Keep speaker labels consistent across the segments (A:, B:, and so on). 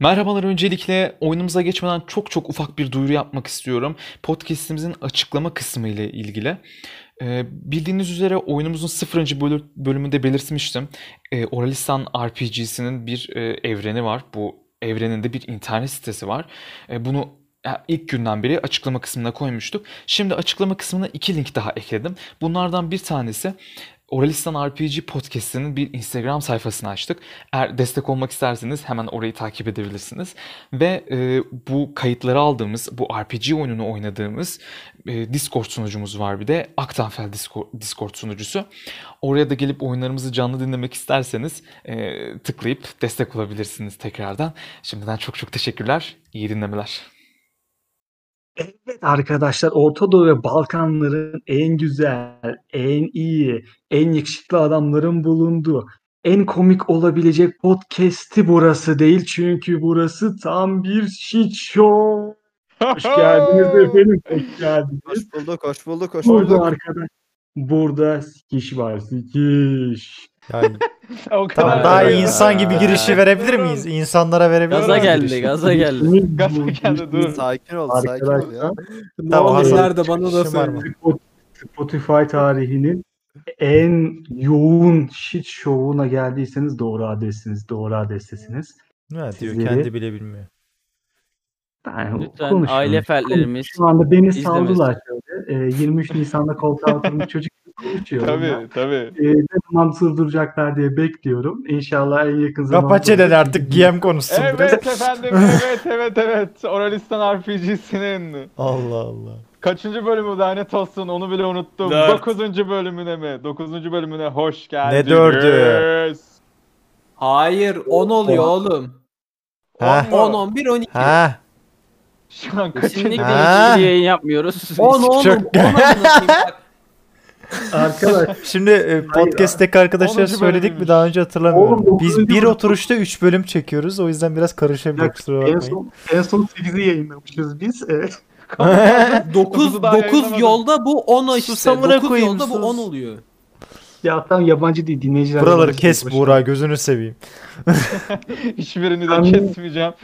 A: Merhabalar öncelikle oyunumuza geçmeden çok çok ufak bir duyuru yapmak istiyorum. Podcast'imizin açıklama kısmı ile ilgili. Ee, bildiğiniz üzere oyunumuzun 0. bölü- bölümünde belirtmiştim. Ee, Oralistan RPG'sinin bir e, evreni var. Bu evrenin de bir internet sitesi var. E, bunu e, ilk günden beri açıklama kısmına koymuştuk. Şimdi açıklama kısmına iki link daha ekledim. Bunlardan bir tanesi Oralistan RPG Podcast'inin bir Instagram sayfasını açtık. Eğer destek olmak isterseniz hemen orayı takip edebilirsiniz. Ve e, bu kayıtları aldığımız, bu RPG oyununu oynadığımız e, Discord sunucumuz var bir de. Aktanfel Discord, Discord sunucusu. Oraya da gelip oyunlarımızı canlı dinlemek isterseniz e, tıklayıp destek olabilirsiniz tekrardan. Şimdiden çok çok teşekkürler. İyi dinlemeler.
B: Evet arkadaşlar Orta Doğu ve Balkanların en güzel, en iyi, en yakışıklı adamların bulunduğu, en komik olabilecek podcast'i burası değil. Çünkü burası tam bir shit show. Hoş geldiniz efendim. Hoş geldiniz.
C: Hoş bulduk, hoş bulduk, hoş
B: Burada
C: bulduk.
B: arkadaş. Burada sikiş var sikiş.
D: Yani
E: O
D: tamam,
E: kadar.
D: daha
E: Ya.
D: iyi insan gibi girişi verebilir miyiz? İnsanlara verebilir miyiz?
F: Gaza geldi,
D: girişi?
F: gaza geldi.
E: Gaza geldi, dur.
C: Sakin ol, sakin ol ya.
B: Arkadaşlar
D: Tamam,
B: olur
D: Hasan.
F: nerede bana da
D: Şımarma.
F: söyle.
B: Spotify tarihinin en yoğun shit show'una geldiyseniz doğru adressiniz. Doğru adrestesiniz.
D: Ne diyor
B: Sizleri-
D: kendi bile bilmiyor.
B: Ben
F: Lütfen
B: konuşuyorum.
F: aile fertlerimiz
B: Şu anda beni
D: şey
F: izlemesin.
B: saldılar şöyle. Ee, 23 Nisan'da koltuğa oturmuş çocuk gibi konuşuyorum.
E: Tabii tabii.
B: ben. Ee, ne zaman durduracaklar diye bekliyorum. İnşallah en yakın zamanda.
D: Kapat çeneni artık GM konuşsun biraz.
E: Evet efendim evet evet evet. Oralistan RPG'sinin
D: Allah Allah.
E: kaçıncı bölümü lanet olsun onu bile unuttum.
F: Dört.
E: Dokuzuncu bölümüne mi? Dokuzuncu bölümüne hoş geldiniz.
D: dördü?
F: Hayır 10 oluyor oğlum.
D: Ha.
F: 10, 11, 12.
D: Ha.
E: Şu an
F: Kesinlikle
E: kaçıncı?
D: Ha.
F: hiçbir yayın yapmıyoruz. 10, 10, 10.
D: Çok-
B: Arkadaş
D: Şimdi e, podcast'teki arkadaşlara
E: Onuncu
D: söyledik mi
E: bölümüymüş.
D: daha önce hatırlamıyorum.
B: Oğlum,
D: Biz
B: dokuzuncu
D: bir
B: bölüm.
D: oturuşta 3 bölüm çekiyoruz. O yüzden biraz karışabilir
B: Ya,
D: kusura
B: en
D: bakmayın.
B: son, en son 8'i yayınlamışız biz. Ee,
F: 9,
E: Dokuzu daha
F: 9
E: yayınlamadım.
F: yolda bu 10 işte.
D: Sus amına
F: 9
D: koyayım,
F: yolda bu
D: sus.
F: 10 oluyor.
B: ya tam yabancı değil dinleyiciler.
D: Buraları
B: yabancı
D: kes
B: değil.
D: Buğra gözünü seveyim.
E: Hiçbirini de
B: Tamam.
E: kesmeyeceğim.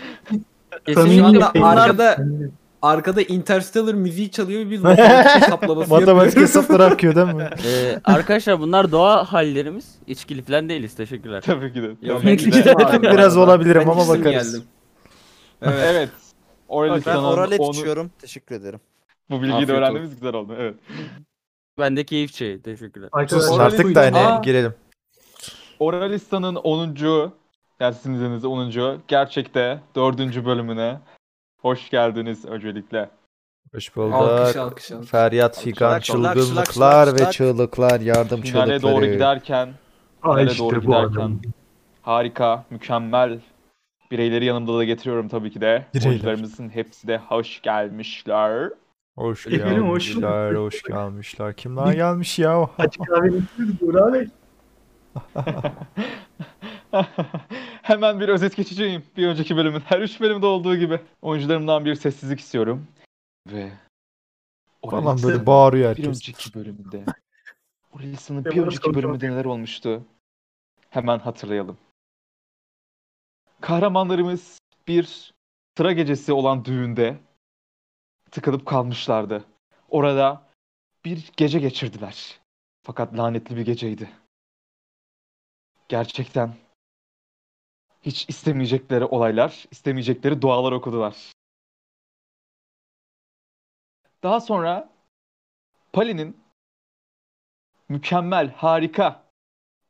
F: Kesinlikle
B: Samimi-
F: arkada
B: Samimi-
F: arkada Interstellar müziği çalıyor ve biz matematik hesaplaması
D: Matematik
F: şey yapıyoruz.
D: hesapları akıyor değil mi?
G: Ee, arkadaşlar bunlar doğa hallerimiz. İçkili falan değiliz. Teşekkürler.
E: Tabii ki de.
G: Ya,
E: Tabii ki de.
G: Güzel.
D: biraz olabilirim
F: Ben
D: ama
F: ikizim
D: bakarız.
F: geldim. Evet.
E: Evet.
C: Ben
E: Oralistan'ın
C: oral et
E: onu-
C: içiyorum. Teşekkür ederim.
E: Bu bilgiyi de
F: Afiyet
E: öğrendiğimiz güzel oldu. Evet.
G: Ben de keyif şeyi. Teşekkürler.
D: Sus
B: Arkadaşlar,
D: artık da hani
F: Aa.
D: girelim.
E: Oralista'nın 10. yani sizin izninizle 10. gerçekte 4. bölümüne hoş geldiniz öncelikle.
D: Hoş
F: Alkış
D: bulduk.
F: alkış alkış.
D: Feryat fikan
C: Şılak, şılak, şılak,
D: çılgınlıklar ve
C: şılak.
D: çığlıklar yardım
E: Finale doğru
D: çığlıkları.
E: giderken
B: Ay
E: Nereye
B: işte
E: doğru
B: bu
E: giderken?
B: adam.
E: harika, mükemmel bireyleri yanımda da getiriyorum tabii ki de.
D: Bireyler.
E: Oyuncularımızın hepsi de hoş gelmişler.
D: Hoş
B: Efendim, hoş
D: gelmişler, hoş gelmişler. Kimler gelmiş ya?
B: Açık kahveni içiyoruz Buğra Bey.
E: Hemen bir özet geçeceğim. Bir önceki bölümün her üç bölümde olduğu gibi. Oyuncularımdan bir sessizlik istiyorum. Ve
D: Falan
E: Oralista'nın
D: böyle bağırıyor
E: bir
D: herkes.
E: önceki bölümünde. Oralisa'nın
B: Ya
E: bir
B: bunu
E: önceki
B: konuşalım.
E: bölümünde neler olmuştu? Hemen hatırlayalım. Kahramanlarımız bir sıra gecesi olan düğünde tıkanıp kalmışlardı. Orada bir gece geçirdiler. Fakat lanetli bir geceydi. Gerçekten hiç istemeyecekleri olaylar, istemeyecekleri dualar okudular. Daha sonra Pali'nin mükemmel, harika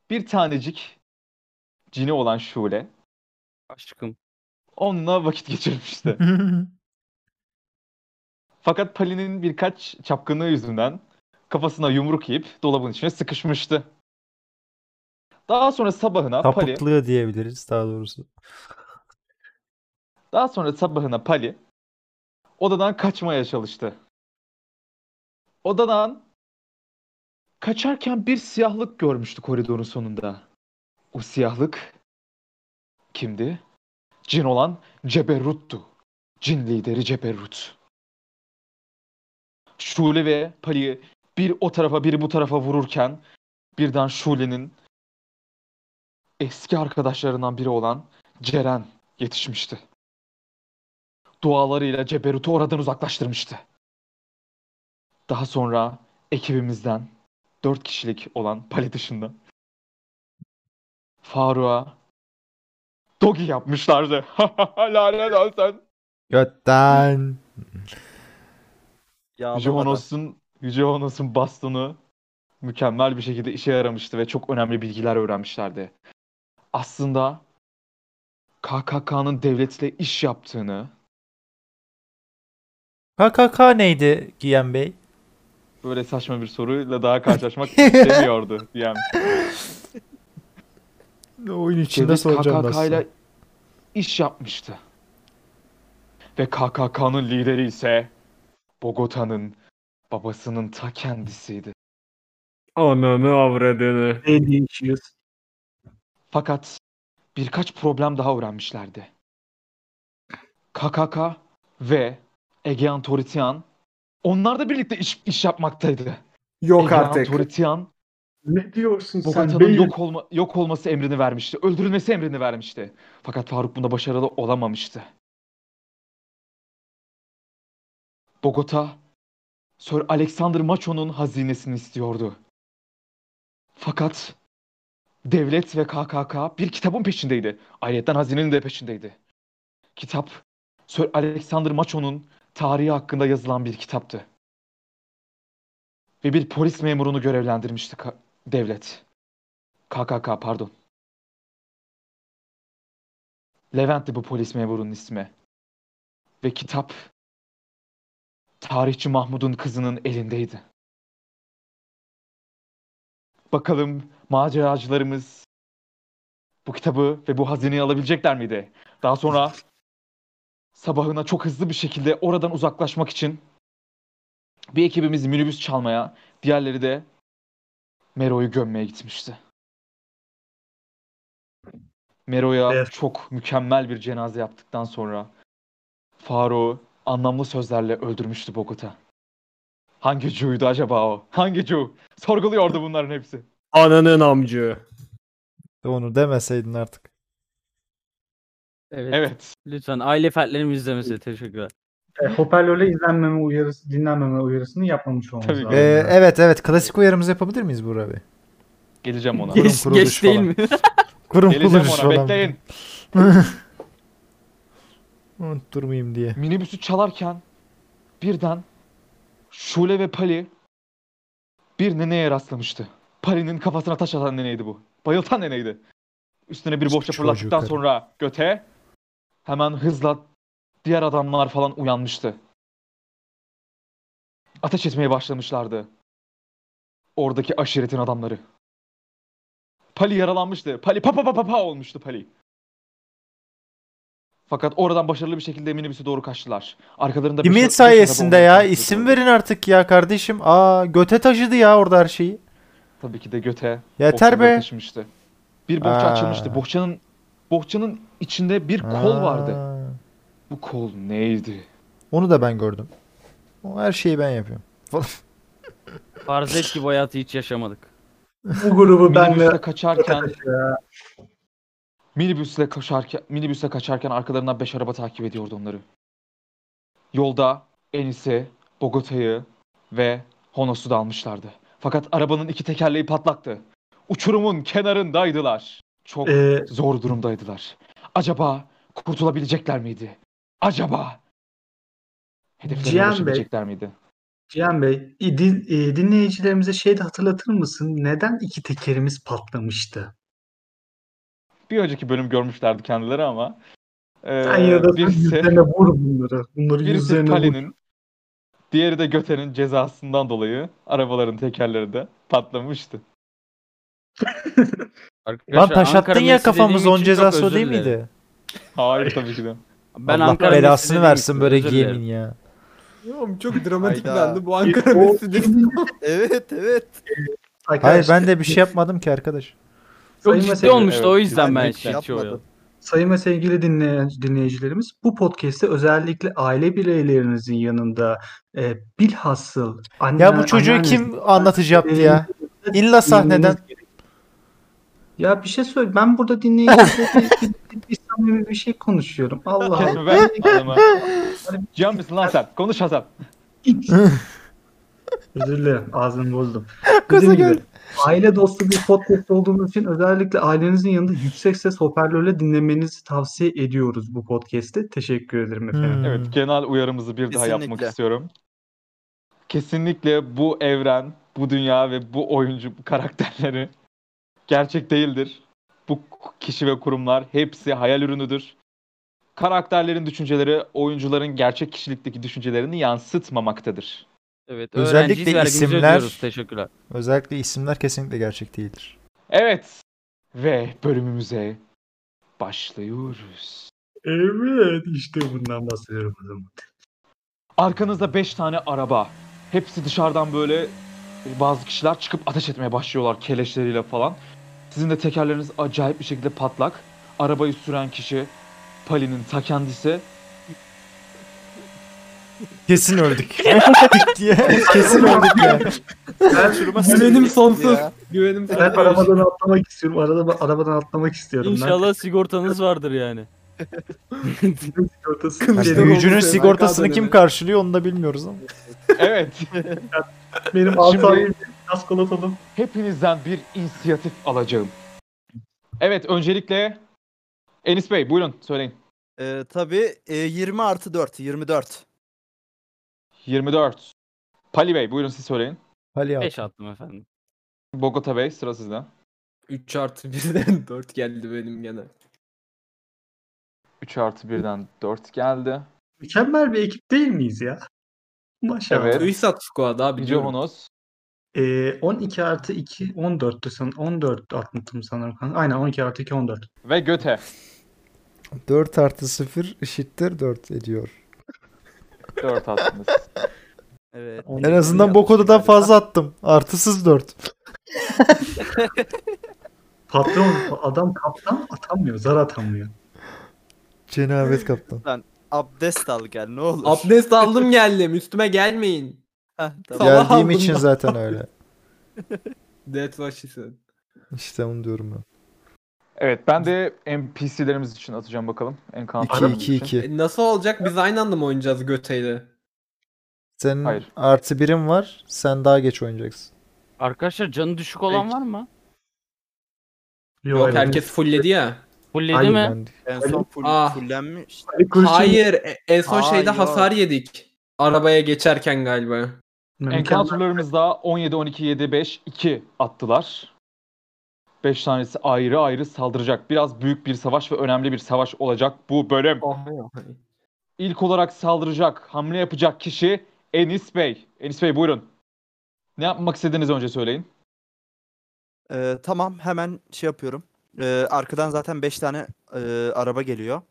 E: bir tanecik cini olan Şule
G: Aşkım.
E: onunla vakit geçirmişti. Fakat Pali'nin birkaç çapkınlığı yüzünden kafasına yumruk yiyip dolabın içine sıkışmıştı. Daha sonra sabahına Pali,
D: Tapıklığı diyebiliriz daha doğrusu.
E: daha sonra sabahına Pali odadan kaçmaya çalıştı. Odadan kaçarken bir siyahlık görmüştü koridorun sonunda. O siyahlık kimdi? Cin olan Ceberrut'tu. Cin lideri Ceberrut. Şule ve Pali'yi bir o tarafa biri bu tarafa vururken birden Şule'nin eski arkadaşlarından biri olan Ceren yetişmişti. dualarıyla Ceberut'u oradan uzaklaştırmıştı. Daha sonra ekibimizden 4 kişilik olan pale dışında Faruk'a Dogi yapmışlardı. Lanet olsun.
D: Götten.
C: Yağmalama.
E: Johannes'ın Johannes'ın bastonu mükemmel bir şekilde işe yaramıştı ve çok önemli bilgiler öğrenmişlerdi. Aslında KKK'nın devletle iş yaptığını,
D: KKK neydi Giyen Bey?
E: böyle saçma bir soruyla daha karşılaşmak istemiyordu diyen.
D: Oyun içinde
E: Devlet
D: soracağım
E: KKK
D: nasıl.
E: ile iş yapmıştı. Ve KKK'nın lideri ise Bogota'nın babasının ta kendisiydi.
F: Ananı avradını.
B: Ne değişiyoruz?
E: Fakat birkaç problem daha öğrenmişlerdi. KKK ve Egean Toritian onlar da birlikte iş, iş yapmaktaydı.
F: Yok
E: Egean
F: artık.
E: Toritian
B: Ne diyorsun sen?
E: Bogota'nın
B: Beyim?
E: yok, olma, yok olması emrini vermişti. Öldürülmesi emrini vermişti. Fakat Faruk bunda başarılı olamamıştı. Bogota, Sir Alexander Macho'nun hazinesini istiyordu. Fakat devlet ve KKK bir kitabın peşindeydi. Ayrıca hazinenin de peşindeydi. Kitap, Sir Alexander Macho'nun tarihi hakkında yazılan bir kitaptı. Ve bir polis memurunu görevlendirmişti ka- devlet. KKK pardon. Levent'ti bu polis memurunun ismi. Ve kitap tarihçi Mahmud'un kızının elindeydi. Bakalım maceracılarımız bu kitabı ve bu hazineyi alabilecekler miydi? Daha sonra sabahına çok hızlı bir şekilde oradan uzaklaşmak için bir ekibimiz minibüs çalmaya, diğerleri de Mero'yu gömmeye gitmişti. Mero'ya
B: Evet.
E: çok mükemmel bir cenaze yaptıktan sonra Faro anlamlı sözlerle öldürmüştü Bogota. Hangi Cu'ydu acaba o? Hangi Cu? Sorguluyordu bunların hepsi.
F: Ananın amcı.
D: Onu demeseydin artık.
G: Evet.
E: Evet.
G: Lütfen aile fertlerimi izlemesi. Teşekkürler.
B: E, hoparlörle izlenmeme uyarısı, dinlenmeme uyarısını yapmamış olmamız
E: Tabii ki.
B: lazım.
D: Ee, evet evet klasik uyarımızı yapabilir miyiz Burak Bey?
E: Geleceğim ona.
D: Kurum
G: Geç,
D: kuruluş
G: geç değil
D: falan.
G: mi?
D: Kurum
E: Geleceğim
D: buluruz
E: ona.
D: falan.
E: Bekleyin.
D: Unutturmayayım diye.
E: Minibüsü çalarken birden Şule ve Pali bir neneye rastlamıştı. Pali'nin kafasına taş atan neneydi bu. Bayıltan neneydi. Üstüne bir boşça
D: Çocuğu
E: fırlattıktan
D: karı.
E: sonra göte hemen hızla diğer adamlar falan uyanmıştı. Ateş etmeye başlamışlardı. Oradaki aşiretin adamları. Pali yaralanmıştı. Pali pa pa pa pa pa olmuştu Pali. Fakat oradan başarılı bir şekilde minibüse doğru kaçtılar. Arkalarında beş-
D: Kimin
E: beş araba
D: sayesinde
E: olmaya
D: ya?
E: çalışıyordu.
D: İsim verin artık ya kardeşim. Aa göte taşıdı ya orada her şeyi.
E: Tabii ki de göte
D: Yeter
E: bohçaları
D: be.
E: taşımıştı. Bir bohça
D: Aa.
E: açılmıştı. Bohçanın bohçanın içinde bir kol
D: Aa,
E: vardı. Bu kol neydi?
D: Onu da ben gördüm. O her şeyi ben yapıyorum.
G: Farz et ki bu hayatı hiç yaşamadık.
B: e, Bu grubu benle
E: Minibüsle kaçarken minibüsle koşarken minibüsle kaçarken arkalarından beş araba takip ediyordu onları. Yolda Enis'i, Bogota'yı ve Honos'u da almışlardı. Fakat arabanın iki tekerleği patlaktı. Uçurumun kenarındaydılar. Çok
B: e,
E: zor durumdaydılar. Acaba kurtulabilecekler miydi? Acaba hedeflerine
B: Cihan Bey.
E: ulaşabilecekler miydi?
B: Cihan Bey, i- din- e, dinleyicilerimize şey de hatırlatır mısın? Neden iki tekerimiz patlamıştı?
E: Bir önceki bölüm görmüşlerdi kendileri ama eee,
B: Sen ya da sen
E: Ee, birisi,
B: yüzlerine vur bunları. Bunları
E: birisi
B: yüzlerine vur.
E: Pali'nin diğeri de Göte'nin cezasından dolayı arabaların tekerleri de patlamıştı.
D: Lan
G: Arkadaşlar,
D: taş
G: Ankara
D: attın ya
G: Messi
D: kafamıza
G: dediğim
D: onun
G: için çok
D: cezası o
G: özür
D: değil
G: dilerim.
D: miydi?
E: Hayır tabii ki de.
G: Ben
D: Allah
G: Ankara Messi
D: belasını
G: dediğim
D: versin
G: için
D: böyle
G: özür dilerim.
D: giyemin ya.
F: Oğlum çok dramatik
C: Hayda.
F: bende bu Ankara
B: O-
F: Messi
C: Evet evet.
B: Ee,
D: Hayır
B: Arkadaşlar,
D: ben de bir şey yapmadım ki arkadaş.
G: Çok
B: Sayın
G: şey. ciddi
B: Mesele-
G: olmuştu
C: Evet,
G: o yüzden
C: ben
G: ben şey
C: hiç
G: şikayetçi
C: yapmadım.
G: oluyorum.
B: Sayın ve sevgili dinleyen- dinleyicilerimiz, bu podcast'te özellikle aile bireylerinizin yanında e, bilhasıl anne,
D: Ya bu çocuğu
B: anneanneniz-
D: kim anlatıcı yaptı ya? İlla sahneden.
B: Bilmeniz gerek. Ya bir şey söyle. Ben burada dinleyicilerle bir, bir, bir samimi bir şey konuşuyorum. Allah Allah.
E: Kesme ben adamı. Cihan mısın lan sen? Konuş Hasan.
B: Özür dilerim ağzını bozdum.
D: Gaza
B: Dediğim gibi,
D: geldi.
B: aile dostu bir podcast olduğumuz için özellikle ailenizin yanında yüksek ses hoparlörle dinlemenizi tavsiye ediyoruz bu podcast'i. Teşekkür ederim efendim.
D: Hmm.
E: Evet genel uyarımızı bir daha yapmak
C: Kesinlikle.
E: istiyorum. Kesinlikle bu evren, bu dünya ve bu oyuncu bu karakterleri gerçek değildir. Bu kişi ve kurumlar hepsi hayal ürünüdür. Karakterlerin düşünceleri oyuncuların gerçek kişilikteki düşüncelerini yansıtmamaktadır.
G: Evet.
D: Özellikle
G: öğrenciyiz, vergimizi
D: isimler-
G: ödüyoruz. Teşekkürler.
D: Özellikle isimler kesinlikle gerçek değildir.
E: Evet ve bölümümüze başlıyoruz.
B: Evet işte bundan bahsediyorum o zaman.
E: Arkanızda 5 tane araba. Hepsi dışarıdan böyle bazı kişiler çıkıp ateş etmeye başlıyorlar keleşleriyle falan. Sizin de tekerleriniz acayip bir şekilde patlak. Arabayı süren kişi Pali'nin ta kendisi.
D: Kesin öldük. Kesin öldük ya.
F: Güvenim sonsuz.
C: Ya.
F: Güvenim
B: Ben
F: sonsuz.
B: arabadan atlamak istiyorum. Arada, arabadan atlamak istiyorum.
G: İnşallah sigortanız vardır yani.
B: Ben. Sigortası-
F: Kılıç
D: Yani
F: İşte
D: büyücünün
F: oldu.
D: sigortasını
F: Arkadan
D: kim
F: öyle.
D: karşılıyor onu da bilmiyoruz ama.
E: Evet.
B: Benim
E: Şimdi-
B: asayim. Biraz kolatalım.
E: Hepinizden bir inisiyatif alacağım. Evet öncelikle Enis Bey buyurun söyleyin.
C: Ee, tabii e, 20 artı 4. 24.
E: 24. Pali Bey buyurun siz söyleyin.
D: Hadi ya.
G: 5 attım efendim.
E: Bogota Bey sıra sizde.
F: 3 artı 1'den 4 geldi benim gene.
E: 3 artı 1'den 4 geldi.
B: Mükemmel bir ekip değil miyiz ya? Maşallah.
E: Evet.
F: Tuisat Fukuha daha biliyorum.
E: Johonos.
B: Ee, 12 artı 2 14'tü san 14 atlattım sanırım. kanka. Aynen 12 artı 2 14.
E: ve Göte.
D: 4 artı 0 eşittir 4 ediyor.
E: 4 attınız.
C: Evet.
D: En azından bok odadan fazla attım. Artısız 4.
B: Patron adam kaptan atamıyor. Zar atamıyor.
D: Cenabet kaptan.
C: Abdest al gel ne olur.
F: Abdest aldım geldim. Üstüme gelmeyin.
C: Heh,
F: Sabah
C: tamam.
D: Geldiğim
F: aldım
D: için
F: ben.
D: zaten öyle.
F: Death Washington.
D: İşte onu diyorum ben.
E: Evet ben de NPC'lerimiz için atacağım bakalım. En kanatlı
D: 2 2 2.
F: E, Nasıl olacak? Biz aynı anda mı oynayacağız göteyle?
D: Senin
E: Hayır.
D: artı birim var. Sen daha geç oynayacaksın.
G: Arkadaşlar canı düşük olan
F: Peki.
G: var mı?
F: Yok
B: evet.
F: herkes fullledi ya.
G: Fulledi
D: Hayır,
G: mi?
D: ben-
C: En son full,
F: Ah.
C: fullenmiş.
B: Ali Kılıç'ın-
F: Hayır. e- En son
C: Aa,
F: şeyde
C: yok.
F: hasar yedik. Arabaya geçerken galiba.
B: Mükemmel.
E: Encounter'larımız da 17, 12, 7, 5, 2 attılar. 5 tanesi ayrı ayrı saldıracak. Biraz büyük bir savaş ve önemli bir savaş olacak bu bölüm.
C: Oh.
E: İlk olarak saldıracak, hamle yapacak kişi Enis Bey. Enis Bey buyurun. Ne yapmak istediğinizi önce söyleyin.
C: Ee, tamam hemen şey yapıyorum. Ee, arkadan zaten 5 tane e, araba geliyor.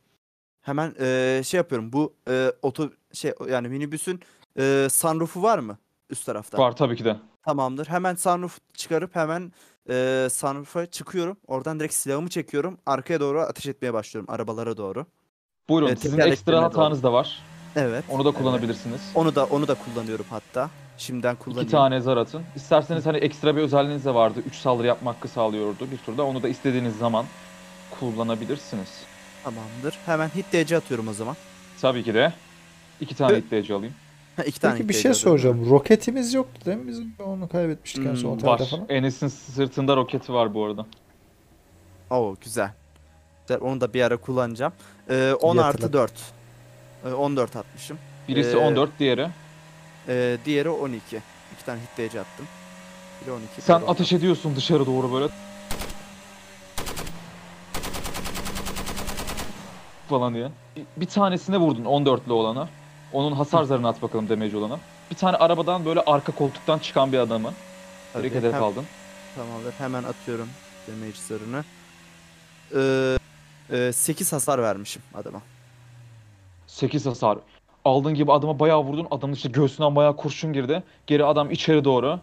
C: Hemen e, şey yapıyorum. Bu e, oto şey yani minibüsün e, sunroofu var mı üst tarafta?
E: Var tabii ki de.
C: Tamamdır. Hemen sunroof çıkarıp hemen e, sunroof'a çıkıyorum. Oradan direkt silahımı çekiyorum. Arkaya doğru ateş etmeye başlıyorum arabalara doğru.
E: Buyurun
C: Evet,
E: sizin
C: tekerleklerine
E: ekstra hatanız da var.
C: Evet.
E: Onu da
C: evet.
E: kullanabilirsiniz.
C: Onu da onu da kullanıyorum hatta. Şimdiden kullanayım.
E: İki tane zar atın. İsterseniz hani ekstra bir özelliğiniz de vardı. Üç saldırı yapma hakkı sağlıyordu bir turda. Onu da istediğiniz zaman kullanabilirsiniz.
C: Tamamdır. Hemen hit DC atıyorum o zaman.
E: Tabii ki de. iki tane
C: Evet.
E: iddiacı alayım.
C: Ha, iki tane
D: Peki bir
C: hit
D: şey
C: DC atıyorum.
D: soracağım. Roketimiz yoktu değil mi bizim? Onu kaybetmiştik en son
C: Hmm,
D: otelde
E: Var.
D: falan.
E: Enes'in sırtında roketi var bu arada.
C: Oo güzel. Güzel onu da bir ara kullanacağım. Ee, 10
D: İyi
C: artı
D: hatırlat.
C: 4. Ee, 14 atmışım.
E: Birisi
C: Ee,
E: 14, diğeri.
C: Ee, diğeri 12. İki tane hit DC attım. Biri 12.
E: Sen
C: biri 14.
E: ateş ediyorsun dışarı doğru böyle. Falan diye. Bir- Bir tanesine vurdun 14'lü olana. Onun hasar zarını at bakalım damage olana. Bir tane arabadan böyle arka koltuktan çıkan bir adamı.
C: Tabii.
E: Direkt hedef
C: Hem-
E: aldın.
C: Tamamdır. Hemen atıyorum damage zarını. 8 hasar vermişim adama.
E: 8 hasar. Aldığın gibi adama bayağı vurdun. Adamın işte göğsünden bayağı kurşun girdi. Geri adam içeri doğru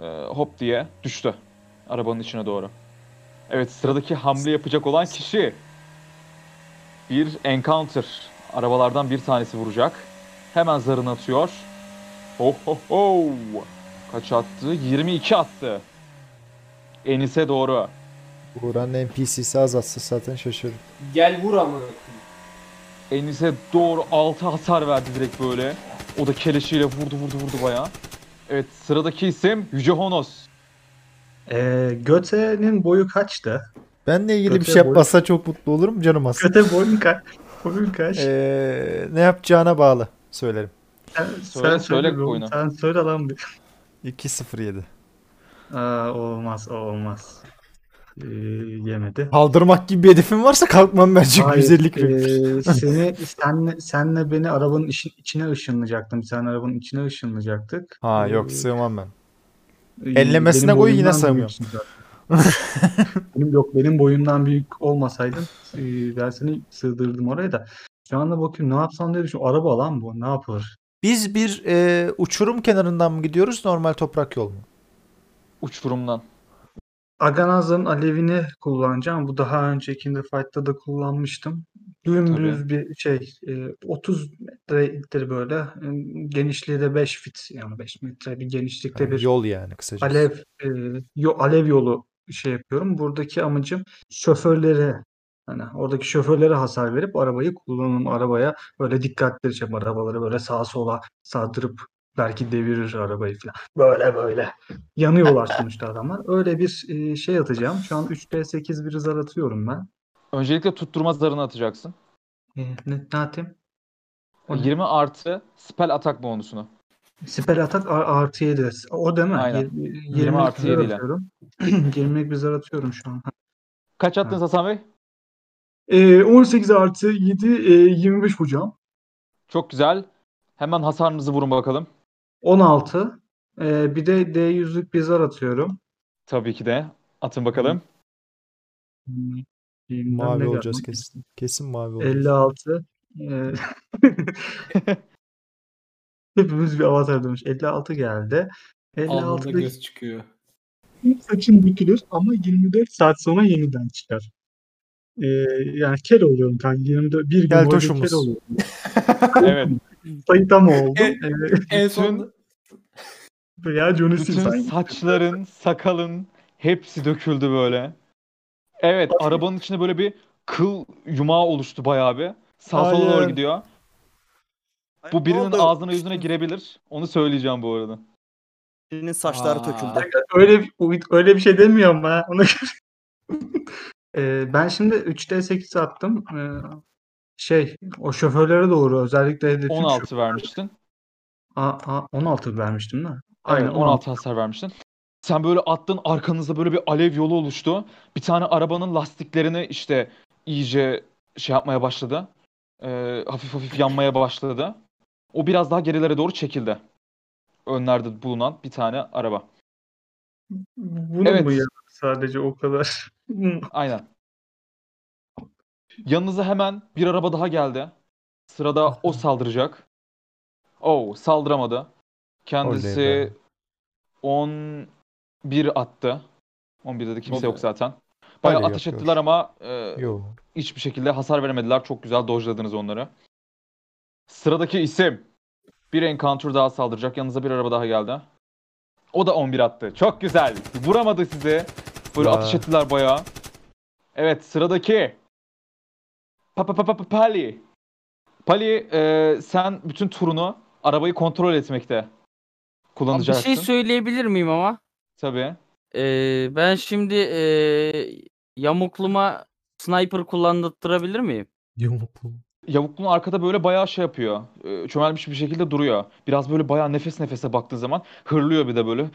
E: e, hop diye düştü. Arabanın içine doğru. Evet sıradaki hamle yapacak olan kişi. Bir encounter. Arabalardan bir tanesi vuracak. Hemen zarını atıyor. Ho ho ho. Kaç attı? 22 attı. Enis'e doğru.
D: Buranın NPC'si azaltsa zaten şaşırırım.
F: Gel vur ama.
E: Enis'e doğru altı hasar verdi direkt böyle. O da keleşiyle vurdu vurdu vurdu bayağı. Evet sıradaki isim Yüce Honos.
B: Ee, Göte'nin boyu kaçtı?
D: Benle ilgili bir
B: Kötü
D: şey
B: boy-
D: yapmasa çok mutlu olurum canım aslında.
B: Göte boyun kaç? Boyun kaç?
D: Ee, ne yapacağına bağlı söylerim.
B: sen,
E: söyle- söyle
B: bir oğlum,
E: boyunu.
B: Sen söyle lan bir.
D: 2-0-7.
B: Aa, olmaz o olmaz. Ee, yemedi.
D: Kaldırmak gibi bir hedefin varsa kalkmam bence
B: Hayır, e,
D: 150
B: eee, seni senle senle beni arabanın işin, içine ışınlayacaktım. Sen arabanın içine ışınlayacaktık.
D: Ha
B: Eee,
D: yok sığmam ben.
B: eee,
D: Ellemesine
B: benim
D: koy, yine
B: boyumdan
D: sığmıyorum.
B: büyüksün zaten. benim yok benim boyumdan büyük olmasaydın eee, ben seni sığdırdım oraya da. Şu anda bakıyorum ne yapsam diye düşünüyorum. Araba lan bu ne yapılır?
D: Biz bir e, uçurum kenarından mı gidiyoruz normal toprak yol mu?
E: uçurumdan.
B: Aganaza'nın alevini kullanacağım. Bu daha öncekinde fight'ta da kullanmıştım. Dümdüz bir şey e, 30 metreliktir böyle. E, Genişliği de 5 fit yani 5 metre bir genişlikte
D: Yani
B: bir
D: yol yani kısacası.
B: alev e, yo- alev yolu şey yapıyorum. Buradaki amacım şoförlere hani oradaki şoförlere hasar verip arabayı kullanım arabaya böyle dikkatleri çekip arabaları böyle sağa sola sardırıp belki devirir arabayı falan. Böyle böyle. Yanıyorlar sonuçta adamlar. Öyle bir e, şey atacağım. Şu an 3D8 bir hızar atıyorum ben.
E: Öncelikle tutturma zarını atacaksın.
B: E, ne, ne atayım? O ne?
E: 20 artı spell atak bonusunu.
B: Spell atak ar- artı 7. O değil mi?
E: Aynen.
B: Yir- 20
E: 20 artı
B: bir zar
E: yediyle.
B: atıyorum. 20'lik bir zar atıyorum şu an.
E: Kaç attınız Hasan Bey?
B: Ee, 18 artı 7 e, 25 hocam.
E: Çok güzel. Hemen hasarınızı vurun bakalım.
B: 16. Ee, bir de D100'lük bir zar atıyorum.
E: Tabii ki de. Atın bakalım.
B: Hmm, bilmem
D: Mavi
B: ne
D: olacağız
B: geldi.
D: kesin. Kesin mavi olacağız.
B: 56. Ee, Hepimiz bir avatar dönmüş. 56 geldi.
F: Alnında
B: 56'da
F: göz çıkıyor.
B: saçın bükülür ama 24 saat sonra yeniden çıkar. Ee, yani kel oluyorum kanka. 24, bir gün
D: Kel
B: boyunca
D: toşumuz.
B: kel oluyorum.
E: Evet.
B: Sayı tam oldu.
F: E- En
E: Bütün-
F: son
B: Ee, ya Johnny Sins
E: Bütün
B: aynı.
E: saçların, sakalın hepsi döküldü böyle. Evet, arabanın içinde böyle bir kıl yumağı oluştu bayağı bir. Sağ sola doğru
D: Hayır.
E: gidiyor.
C: Ay,
E: Bu
C: E, ne
E: birinin
C: oldu?
E: ağzına yüzüne girebilir. Onu söyleyeceğim bu arada.
C: Birinin saçları
F: Aa.
C: töküldü.
B: Öyle bir- öyle bir şey demiyorum ha. Ona göre. Ee, ben şimdi 3D8 attım. Ee, şey o şoförlere doğru özellikle hedefim şu-
E: 16 vermiştin.
B: Aa, aa, 16 vermiştim lan.
E: Aynen
B: Aynen
E: 16 hasar vermiştin. Sen böyle attın arkanızda böyle bir alev yolu oluştu. Bir tane arabanın lastiklerini işte iyice şey yapmaya başladı. Ee, hafif hafif yanmaya başladı. O biraz daha gerilere doğru çekildi. Önlerde bulunan bir tane araba.
B: Bunu
E: Evet.
B: mu ya? Sadece o kadar.
E: Aynen. Yanınıza hemen bir araba daha geldi. Sırada o saldıracak. Oh, saldıramadı.
D: Oley be.
E: Kendisi 11 attı. 11'de de kimse yok zaten. Bayağı
D: Öyle
E: ateş
D: yok,
E: ettiler
D: yok.
E: ama e,
D: Yo.
E: hiçbir şekilde hasar veremediler. Çok güzel dojladınız onları. Sıradaki isim. Bir encounter daha saldıracak. Yanınıza bir araba daha geldi. O da 11 attı. Çok güzel. Vuramadı sizi. Böyle
D: Ya.
E: ateş ettiler bayağı. Evet sıradaki. Pa pa pa pa pa- Pali. Pali e, sen bütün turunu arabayı kontrol etmekte
G: Abi Bir
E: kullanacaksın.
G: şey söyleyebilir miyim ama?
E: Tabii.
G: Ee, ben şimdi ee, yamukluma sniper kullandırabilir miyim?
D: Yumruklu.
E: Yavuklun arkada böyle bayağı şey yapıyor. e, Çömelmiş bir şekilde duruyor. Biraz böyle bayağı nefes nefese baktığın zaman hırlıyor bir de böyle.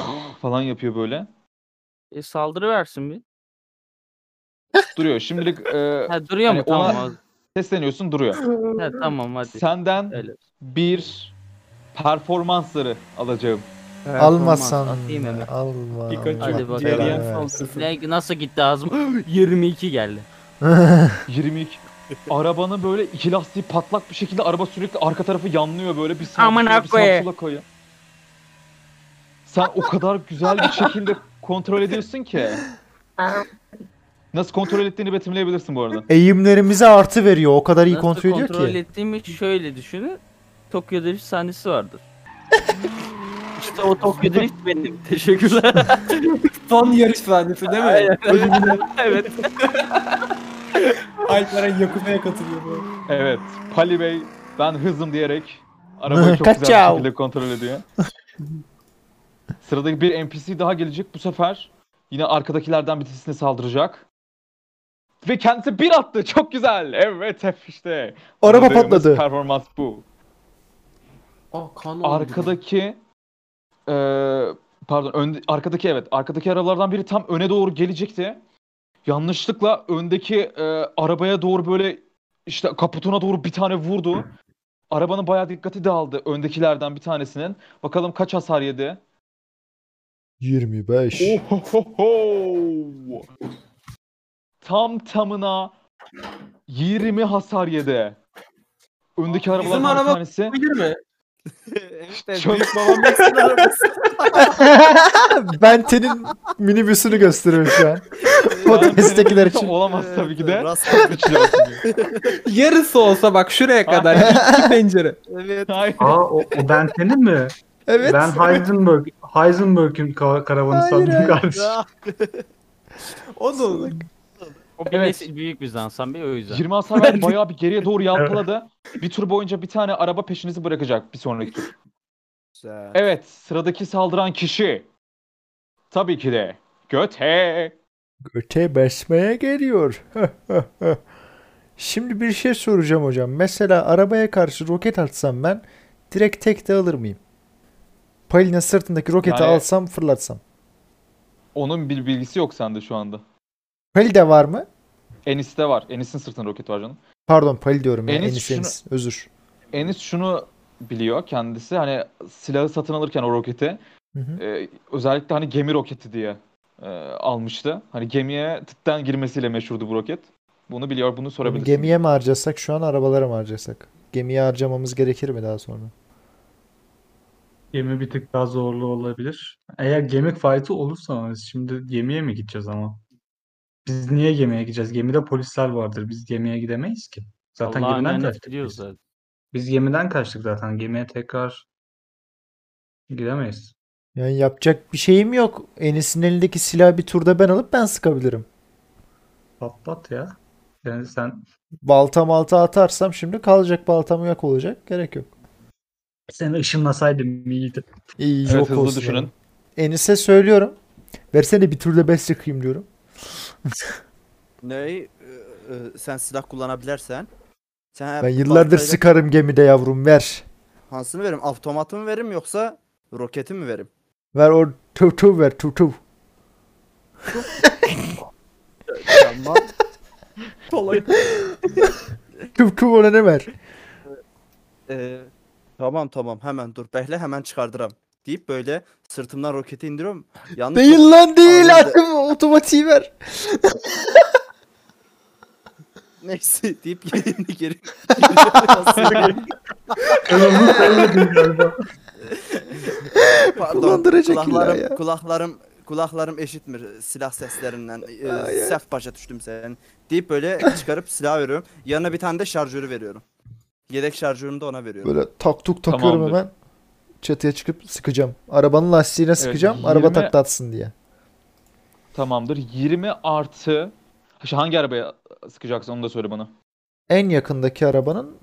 E: falan yapıyor böyle.
G: E, saldırı versin bir.
E: Duruyor. Şimdilik e,
G: Ha duruyor
E: Hani
G: mu? Tamam.
E: ona-
G: az-
E: sesleniyorsun duruyor.
G: Ha, tamam hadi.
E: Senden
G: Öyle.
E: bir performansları alacağım.
D: Almasan.
G: Atayım hemen.
D: Alma.
F: Pikachu
G: Hadi bakalım.
F: Cereyan
D: Evet.
F: saldırısı.
G: Ne, nasıl gitti ağzım? 22 geldi.
E: 22. Arabanın böyle iki lastiği patlak bir şekilde araba sürekli arka tarafı yanlıyor böyle bir sağa
G: Amına
E: sola bir sağa
G: koyayım.
E: sola koyuyor. Sen o kadar güzel bir şekilde kontrol ediyorsun ki. Nasıl kontrol ettiğini betimleyebilirsin bu arada.
D: Eğimlerimize artı veriyor. O kadar iyi
G: Nasıl
D: kontrol ediyor
G: kontrol
D: ki.
G: ettiğimi şöyle düşünün. Tokyo Drift sahnesi vardır. işte o Tokyo Drift benim. Teşekkürler.
F: Son yarış sahnesi değil mi?
G: Aynen. evet.
F: Alperen Yakup'a katılıyor bu.
E: Evet. Pali Bey ben hızım diyerek arabayı çok güzel bir
D: Kaçav.
E: şekilde kontrol ediyor. Sıradaki bir NPC daha gelecek. Bu sefer yine arkadakilerden birisine saldıracak. Ve kendisi bir attı. Çok güzel. Evet hep işte.
D: Araba
E: Aradığımız
D: patladı.
E: Performans bu.
F: Aa Ah, kan oldu.
E: Arkadaki eee, pardon ön, arkadaki evet arkadaki arabalardan biri tam öne doğru gelecekti. Yanlışlıkla öndeki eee, arabaya doğru böyle işte kaputuna doğru bir tane vurdu. Arabanın bayağı dikkati dağıldı öndekilerden bir tanesinin. Bakalım kaç hasar yedi.
D: 25.
E: Ohohoho! Tam tamına 20 hasar yedi. Öndeki
F: Bizim
E: arabalardan bir
F: araba-
E: tanesi.
F: Bilir mi?
C: evet, evet,
E: Çok-
C: büyük babam Max'in arabası.
D: ben tenin minibüsünü gösteriyorum şu an. Podcast'tekiler için.
E: Olamaz tabii ki de.
C: Rastgele.
E: Üçlü olsun diyor.
F: Yarısı olsa bak şuraya kadar. iki pencere.
C: evet.
E: Hayır.
B: Aa o, o Bentley'nin mi?
D: Evet.
B: Ben Heisenberg, Heisenberg'in ka- karavanı
D: Hayır,
B: sandım
D: hayır.
B: kardeşim.
C: Ya.
F: O da olur.
G: O bir
E: Evet.
G: nesil büyük bizden Hasan Bey o yüzden.
E: 20 hasar verdi. Bayağı bir geriye doğru yalpaladı. bir tur boyunca bir tane araba peşinizi bırakacak bir sonraki tur.
C: Güzel.
E: Evet. Sıradaki saldıran kişi. Tabii ki de. Göte.
D: Öte besmeye geliyor. Şimdi bir şey soracağım hocam. Mesela arabaya karşı roket atsam ben direkt tek de alır mıyım? Palina sırtındaki roketi
E: Yani-
D: alsam fırlatsam.
E: Onun bir bilgisi yok sende şu anda.
D: Palide var mı?
E: Enis'te var. Enis'in sırtında roket var canım.
D: Pardon Pali diyorum ya.
E: Enis
D: Enis
E: şunu-
D: Enis. Özür.
E: Enis şunu biliyor kendisi. Hani silahı satın alırken o roketi
D: Hı hı.
E: e, özellikle hani gemi roketi diye e, almıştı. Hani gemiye tıptan girmesiyle meşhurdu bu roket. Bunu biliyor. Bunu
D: Bunu
E: sorabilirsin.
D: Gemiye mi harcasak şu an arabalara mı harcasak? Gemiye harcamamız gerekir mi daha sonra?
B: Gemi bir tık daha zorlu olabilir. Eğer gemi fight'ı olursa biz şimdi gemiye mi gideceğiz ama? Biz niye gemiye gideceğiz? Gemide polisler vardır. Biz gemiye gidemeyiz ki. Zaten
G: Allah'ın
B: gemiden
G: lanet
B: kaçtık
G: biliyoruz
B: biz.
G: zaten.
B: Biz gemiden kaçtık zaten. Gemiye tekrar gidemeyiz.
D: Yani yapacak bir şeyim yok. Enis'in elindeki silahı bir turda ben alıp ben sıkabilirim.
B: Patlat ya. Yani sen
D: Balta malta atarsam şimdi kalacak baltam yok olacak. Gerek yok.
B: seni ışınlasaydım iyiydi.
D: İyi
E: Evet,
D: yok
E: hızlı
D: olsun
E: düşünün.
D: yani. Enis'e söylüyorum. Versene bir turda ben sıkayım diyorum.
C: Ney? Ee, e, sen silah kullanabilirsen. Sen
D: Ben yıllardır
C: baltayla
D: sıkarım gemide yavrum ver.
C: Hansını verim. Avtomatı mı verim yoksa roketi mi verim?
D: Ver o tuv tuv ver tuv tuv.
C: tamam.
D: Tuv tuv ona ne ver?
C: Ee, tamam tamam hemen dur bekle hemen çıkardıram deyip böyle sırtımdan roketi indiriyorum. Yalnız
D: Değil lan değil
C: Anladım.
D: atım otomatiği ver.
C: neyse deyip geri geri. Pardon,
D: Kullandıracak illa
C: kulaklarım,
D: ya.
C: kulaklarım kulaklarım eşitmir silah seslerinden. Ee,
D: Ay, ay.
C: sef başa düştüm sen. Deyip böyle çıkarıp silah veriyorum. Yanına bir tane de şarjörü veriyorum. Yedek şarjörümü de ona veriyorum.
D: Böyle tak tuk takıyorum
E: Tamamdır.
D: hemen. Çatıya çıkıp sıkacağım. Arabanın lastiğine sıkacağım. Araba
E: 20
D: taklatsın diye.
E: Tamamdır. 20 artı Şu hangi arabaya sıkacaksın onu da söyle bana.
D: En yakındaki arabanın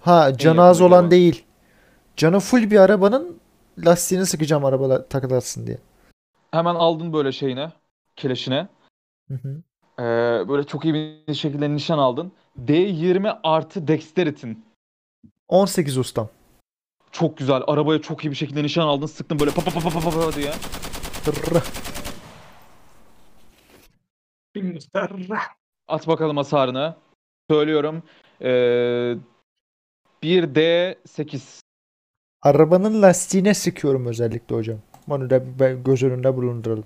D: ha canı az
E: yakındaki
D: olan
E: arabanın.
D: değil. Canı full bir arabanın lastiğini sıkacağım araba taklatsın diye.
E: Hemen aldın böyle şeyine, keleşine.
D: Hı hı.
E: Ee, böyle çok iyi bir şekilde nişan aldın. D20 artı dexterity'in.
D: 18 ustam.
E: Çok güzel. Arabaya çok iyi bir şekilde nişan aldın. Sıktın böyle pa pa pa pa pa pa diye.
D: Tırrah.
B: Bir miktar
E: At bakalım hasarını. Söylüyorum. Ee, 1D8.
D: Arabanın lastiğine sıkıyorum özellikle hocam. Onu da ben göz önünde bulunduralım.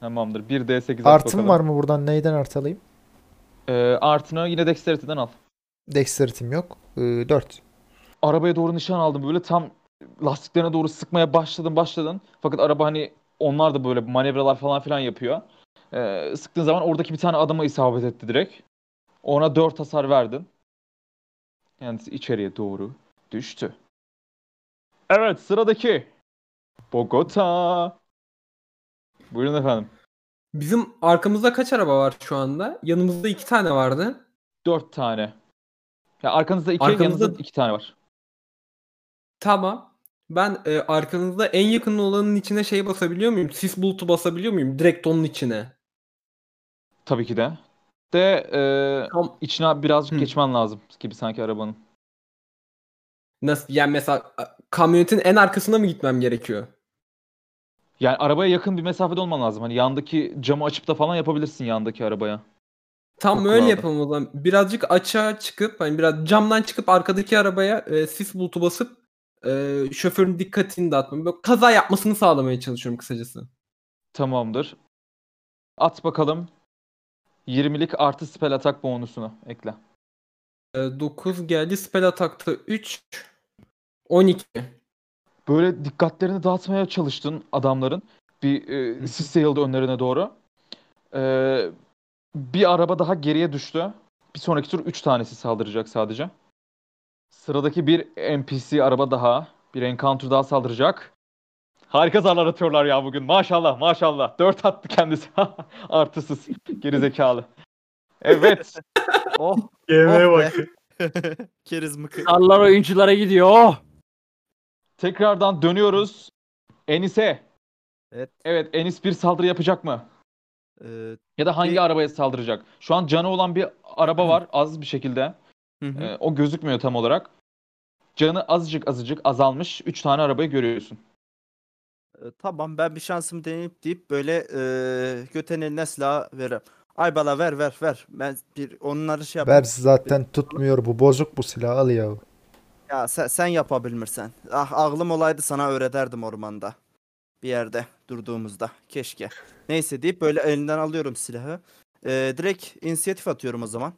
E: Tamamdır. 1D8 at
D: Artım
E: bakalım.
D: var mı buradan? Neyden artı alayım?
E: Ee, artını yine dexterity'den al.
D: Dexterity'm yok. Ee, 4.
E: arabaya doğru nişan aldım böyle tam lastiklerine doğru sıkmaya başladın başladın. Fakat araba hani onlar da böyle manevralar falan filan yapıyor. Ee, sıktığın zaman oradaki bir tane adama isabet etti direkt. Ona 4 hasar verdin. Kendisi içeriye doğru düştü. Evet sıradaki. Bogota. Buyurun efendim.
F: Bizim arkamızda kaç araba var şu anda? Yanımızda iki tane vardı.
E: Dört tane. Ya arkanızda iki,
F: Arkamızda-
E: yanınızda iki tane var.
F: Tamam. Ben e, arkanızda en yakın olanın içine şey basabiliyor muyum? Sis bulutu basabiliyor muyum? Direkt onun içine.
E: Tabii ki de. De e,
F: Tam
E: içine birazcık
A: Hı.
E: geçmen lazım gibi sanki arabanın.
F: nasıl yani mesela a, kamyonetin en arkasına mı gitmem gerekiyor?
E: Yani arabaya yakın bir mesafede olman lazım. Hani yandaki camı açıp da falan yapabilirsin yandaki arabaya.
F: Tam
E: Çok
F: öyle
E: kulağında.
F: yapalım o zaman. Birazcık açığa çıkıp hani biraz camdan çıkıp arkadaki arabaya e, sis bulutu basıp e, şoförün dikkatini dağıtmam. Böyle kaza yapmasını sağlamaya çalışıyorum kısacası.
E: Tamamdır. At bakalım. 20'lik artı spell atak bonusunu ekle.
F: 9 E, geldi. Spell atakta 3. 12.
E: Böyle dikkatlerini dağıtmaya çalıştın adamların. Bir e, sis yayıldı önlerine doğru. E, bir araba daha geriye düştü. Bir sonraki tur 3 tanesi saldıracak sadece. Sıradaki bir NPC araba daha. Bir encounter daha saldıracak. Harika zarlar atıyorlar ya bugün. Maşallah maşallah. 4 attı kendisi. Artısız. Geri zekalı. Evet.
C: Oh
B: Yemeğe
C: Oh be.
B: bak.
C: keriz mıkı.
G: Sallar oyunculara gidiyor. Oh!
E: Tekrardan dönüyoruz. Enis'e.
C: Evet.
E: Evet Enis bir saldırı yapacak mı?
C: Ee,
E: Ya da hangi
C: Bir-
E: arabaya saldıracak? Şu an canı olan bir araba var az bir şekilde.
C: hı hı.
E: Ee, o gözükmüyor tam olarak. Canı azıcık azıcık azalmış. 3 tane arabayı görüyorsun.
C: E, tamam ben bir şansımı deneyip deyip böyle e, göten eline silah veririm. Ay bala ver ver ver. Ben bir onları şey yap.
D: Ver zaten tutmuyor bu. Bozuk bu silah al ya. Ee,
C: Ya sen, sen yapabilirsen. Ah aklım olaydı sana öğreterdim ormanda. Bir yerde durduğumuzda. Keşke. Neyse deyip böyle elinden alıyorum silahı. E, direkt inisiyatif atıyorum o zaman.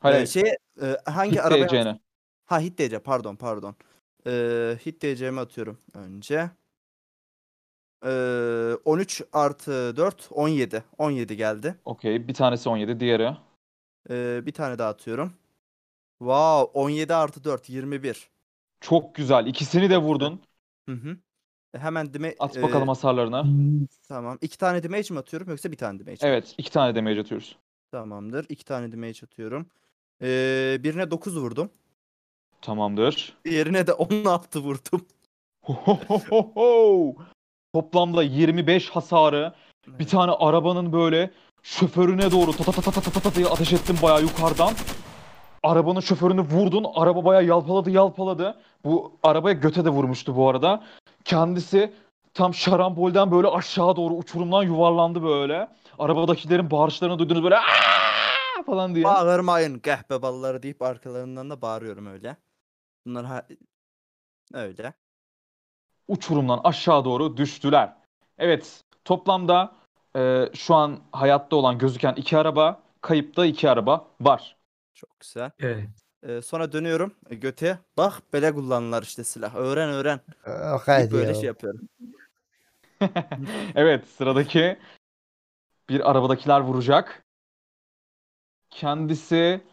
E: Hayır,
C: E, şeye, e, hangi
E: hit
C: arabaya
E: diyeceğine.
C: Ha hit DC pardon pardon. Ee, hit DC'mi atıyorum önce. Ee, 13 artı 4 17. 17 geldi.
E: Okey. Bir tanesi 17, diğeri.
C: Ee, bir tane daha atıyorum. Wow 17 artı 4 21.
E: Çok güzel. İkisini de vurdun.
C: Hı hı. Hemen dime
E: At
C: ee,
E: bakalım hasarlarına.
C: tamam. İki tane damage mi atıyorum yoksa bir tane damage? mi?
E: Evet, iki tane damage atıyoruz.
C: Tamamdır. İki tane damage atıyorum. Ee, birine 9 vurdum.
E: Tamamdır.
C: Diğerine de 16 vurdum.
E: Hohohoho! Toplamda 25 hasarı. Bir tane arabanın böyle şoförüne doğru ta ta ta ta ta ta ta ta diye ateş ettin bayağı yukarıdan. Arabanın şoförünü vurdun. Araba bayağı yalpaladı yalpaladı. Bu arabaya göte de vurmuştu bu arada. Kendisi tam şarambolden böyle aşağı doğru uçurumdan yuvarlandı böyle. Arabadakilerin bağırışlarını duydunuz böyle "Aaah!" falan diye.
C: Bağırmayın gehbe balları deyip arkalarından da bağırıyorum öyle. Bunlar ha... öyle.
E: uçurumdan aşağı doğru düştüler. Evet toplamda e, şu an hayatta olan gözüken iki araba, kayıpta iki araba var.
C: Çok güzel.
F: Evet.
C: Ee, sonra dönüyorum e, göte. Bak böyle kullanırlar işte silah. Öğren öğren. deyip
D: Ah, hadi
C: böyle
D: ya.
C: şey yapıyorum.
E: Evet sıradaki bir arabadakiler vuracak. Kendisi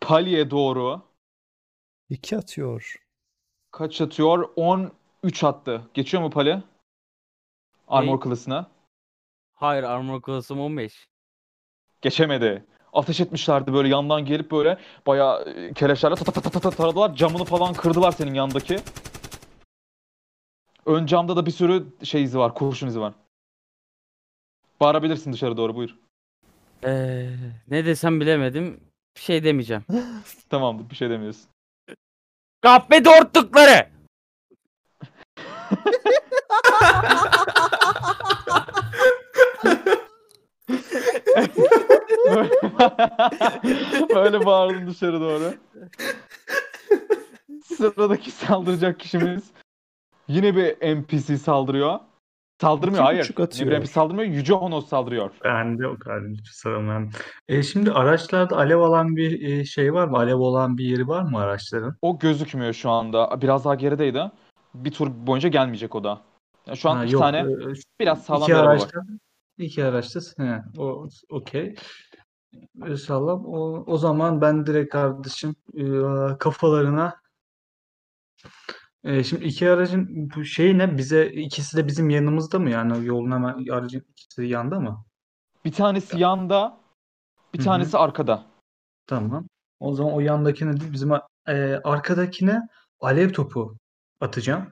E: Pali'ye doğru
D: İki atıyor.
E: kaç atıyor? 13 attı. Geçiyor mu Pali? Armor
G: Neyi?
E: klasına.
G: Hayır armor class'ım 15.
E: geçemedi. Ateş etmişlerdi böyle yandan gelip böyle bayağı e, keleşlerle ta ta ta ta ta ta taradılar. Camını falan kırdılar senin yandaki. Ön camda da bir sürü şey izi var, kurşun izi var. Bağırabilirsin dışarı doğru buyur.
G: Ee, ne desem bilemedim. Bir şey demeyeceğim.
E: Tamamdır bir şey demiyorsun.
G: Kahpe dortlukları!
E: Böyle, böyle bağırdın dışarı doğru. Sıradaki saldıracak kişimiz yine bir NPC saldırıyor. Saldırmıyor
D: İki
E: hayır.
D: buçuk
E: Yine bir
D: atıyor.
E: NPC saldırmıyor. Yüce Honos saldırıyor.
B: Ben de o kadar sanırım. E, şimdi araçlarda alev alan bir e, şey var mı? Alev olan bir yeri var mı araçların?
E: O gözükmüyor şu anda. Biraz daha gerideydi. Bir tur boyunca gelmeyecek o da. Yani şu an
B: Ha,
E: iki
B: yok.
E: tane
B: e,
E: biraz sağlam
B: İki
E: bir araba var.
B: araçta. İki araçta. He, o okey. E, Sağlam. O, o zaman ben direkt kardeşim e, kafalarına Ee, şimdi iki aracın bu şeyi ne? Bize ikisi de bizim yanımızda mı yani? Yolun hemen aracın ikisi de yanda mı?
E: Bir tanesi yanda,
B: Hı
E: bir
B: hı.
E: tanesi arkada.
B: Tamam. O zaman o yandakine değil bizim a- e, arkadakine alev topu atacağım.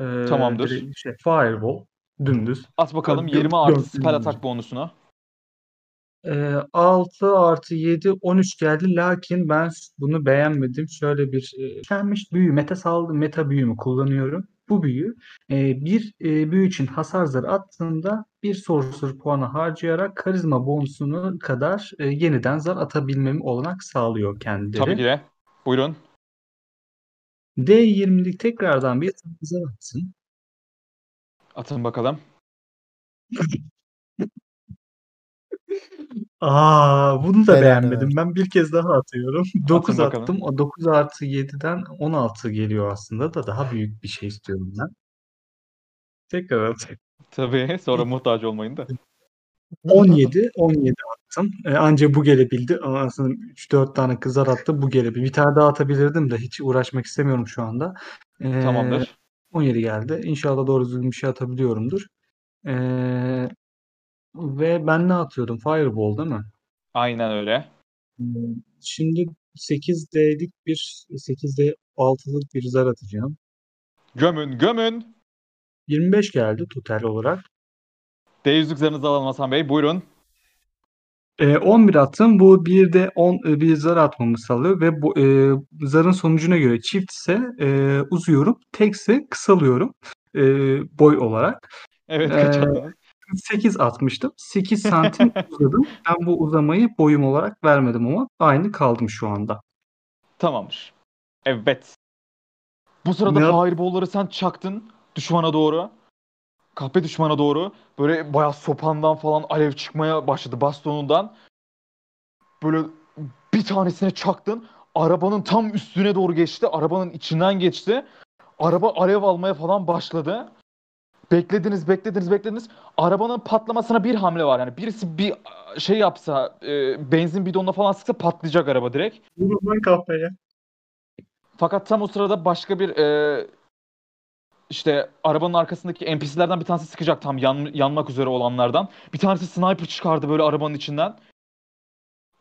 B: Ee,
E: Tamamdır.
B: direkt Şey, fireball dümdüz.
E: At bakalım
B: Tabii,
E: 20
B: gök-
E: artı
B: gökyüzü
E: spell
B: olacak.
E: atak bonusuna.
B: Ee, 6 artı 7 13 geldi lakin ben s- bunu beğenmedim. Şöyle bir e, gelmiş büyü meta saldım meta büyümü kullanıyorum. Bu büyü e, bir e, büyü için hasar zarı attığında bir sorcerer puanı harcayarak karizma bonusunu kadar e, yeniden zar atabilmemi olanak sağlıyor kendileri.
E: Tabii ki de. Buyurun.
B: D20'lik tekrardan bir zar atsın.
E: Atın bakalım.
B: Aa, bunu da
D: Belanı
B: beğenmedim. Ben bir kez daha atıyorum. 9
E: bakalım.
B: attım. O 9 artı 7'den 16 geliyor aslında da daha büyük bir şey istiyorum ben. Tekrar atayım.
E: Tabii sonra muhtaç olmayın da.
B: 17, 17 attım. Ee, anca bu gelebildi. Ama aslında 3-4 tane kızar attı. Bu gelebildi. Bir tane daha atabilirdim de hiç uğraşmak istemiyorum şu anda. Ee,
E: Tamamdır.
B: 17 geldi. İnşallah doğru düzgün bir şey atabiliyorumdur. Ee, ve ben ne atıyordum? Fireball değil mi?
E: Aynen öyle.
B: Ee, Şimdi 8D'lik bir 8D 6'lık bir zar atacağım.
E: Gömün, gömün.
B: 25 geldi total olarak.
E: Deyiz alın Hasan Bey. Buyurun.
B: Ee, 11 attım. Bu bir de 10 e, bir zar atmamı sağlıyor ve bu e, zarın sonucuna göre çift ise e, uzuyorum, tekse kısalıyorum e, boy olarak.
E: Evet
B: Ee,
E: kaç attınız?
B: 8 atmıştım. 8 santim uzadım. Ben bu uzamayı boyum olarak vermedim ama aynı kaldım şu anda.
E: Tamamdır. Evet. Bu sırada
B: Ne yap-
E: fireball'ları sen çaktın düşmana doğru. Kahpe düşmana doğru. Böyle bayağı sopandan falan alev çıkmaya başladı bastonundan. Böyle bir tanesine çaktın. Arabanın tam üstüne doğru geçti. Arabanın içinden geçti. Araba alev almaya falan başladı. Beklediniz, beklediniz, beklediniz. Arabanın patlamasına bir hamle var. Yani birisi bir şey yapsa, e, benzin bidonuna falan sıksa patlayacak araba direkt.
B: Vurun kafaya.
E: Fakat tam o sırada başka bir e, işte arabanın arkasındaki NPC'lerden bir tanesi sıkacak tam yan- yanmak üzere olanlardan. Bir tanesi sniper çıkardı böyle arabanın içinden.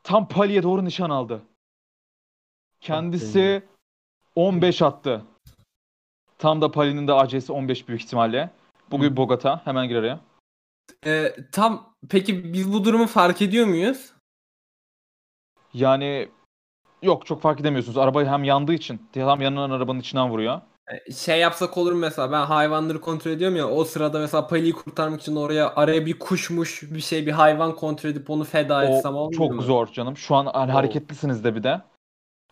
E: Tam Pali'ye doğru nişan aldı. Kendisi 15 attı. Tam da Pali'nin de AC'si 15 büyük ihtimalle. Bugün Bogota hemen gir araya.
F: Ee, tam peki biz bu durumu fark ediyor muyuz?
E: Yani yok çok fark edemiyorsunuz. Arabayı hem yandığı için tam yanan arabanın içinden vuruyor.
F: Ee, Şey yapsak olur mu mesela ben hayvanları kontrol ediyorum ya o sırada mesela Pali'yi kurtarmak için oraya araya bir kuşmuş bir şey bir hayvan kontrol edip onu feda etsem
E: O
F: olmuyor
E: çok
F: mu?
E: zor canım. Şu an hani
F: Oo.
E: hareketlisiniz de bir de.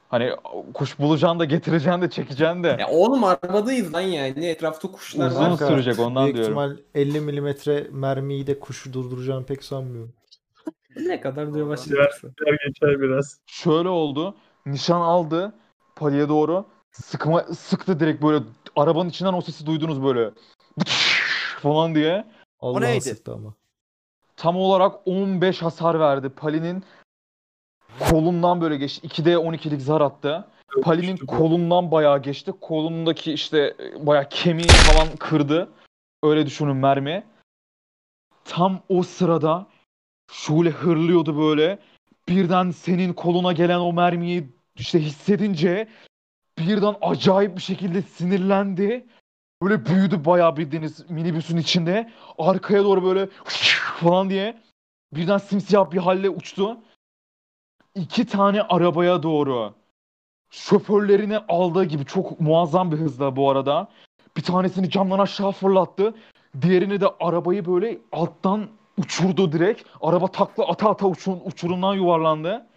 E: Hani kuş bulacaksın da getireceksin de çekeceksin de.
F: Ya oğlum arabadayız lan yani etrafta kuşlar
E: Uzun
F: var.
D: Kanka,
E: sürecek ondan
D: Büyük
E: diyorum.
D: ihtimal 50 milimetre mermiyi de kuşu durduracağını pek sanmıyorum.
F: Ne kadar diyor başlayacaksın.
B: Geçer biraz.
E: Şöyle oldu. Nişan aldı paliye doğru. Sıkma, sıktı direkt böyle arabanın içinden o sesi duydunuz böyle. falan diye.
D: Allah'a
C: neydi?
D: sıktı ama.
E: Tam olarak 15 hasar verdi. Pali'nin kolundan böyle geçti. 2D 12'lik zar attı. Pali'nin kolundan bayağı geçti. Kolundaki işte e, bayağı kemiği falan kırdı. Öyle düşünün mermi. Tam o sırada şöyle hırlıyordu böyle. Birden senin koluna gelen o mermiyi işte hissedince birden acayip bir şekilde sinirlendi. Böyle büyüdü bayağı bildiğiniz minibüsün içinde. Arkaya doğru böyle falan diye birden simsiyah bir halle uçtu. İki tane arabaya doğru şoförlerini aldığı gibi çok muazzam bir hızla bu arada. Bir tanesini camdan aşağı fırlattı. Diğerini de arabayı böyle alttan uçurdu direkt. Araba takla ata ata uçun, uçurumdan yuvarlandı.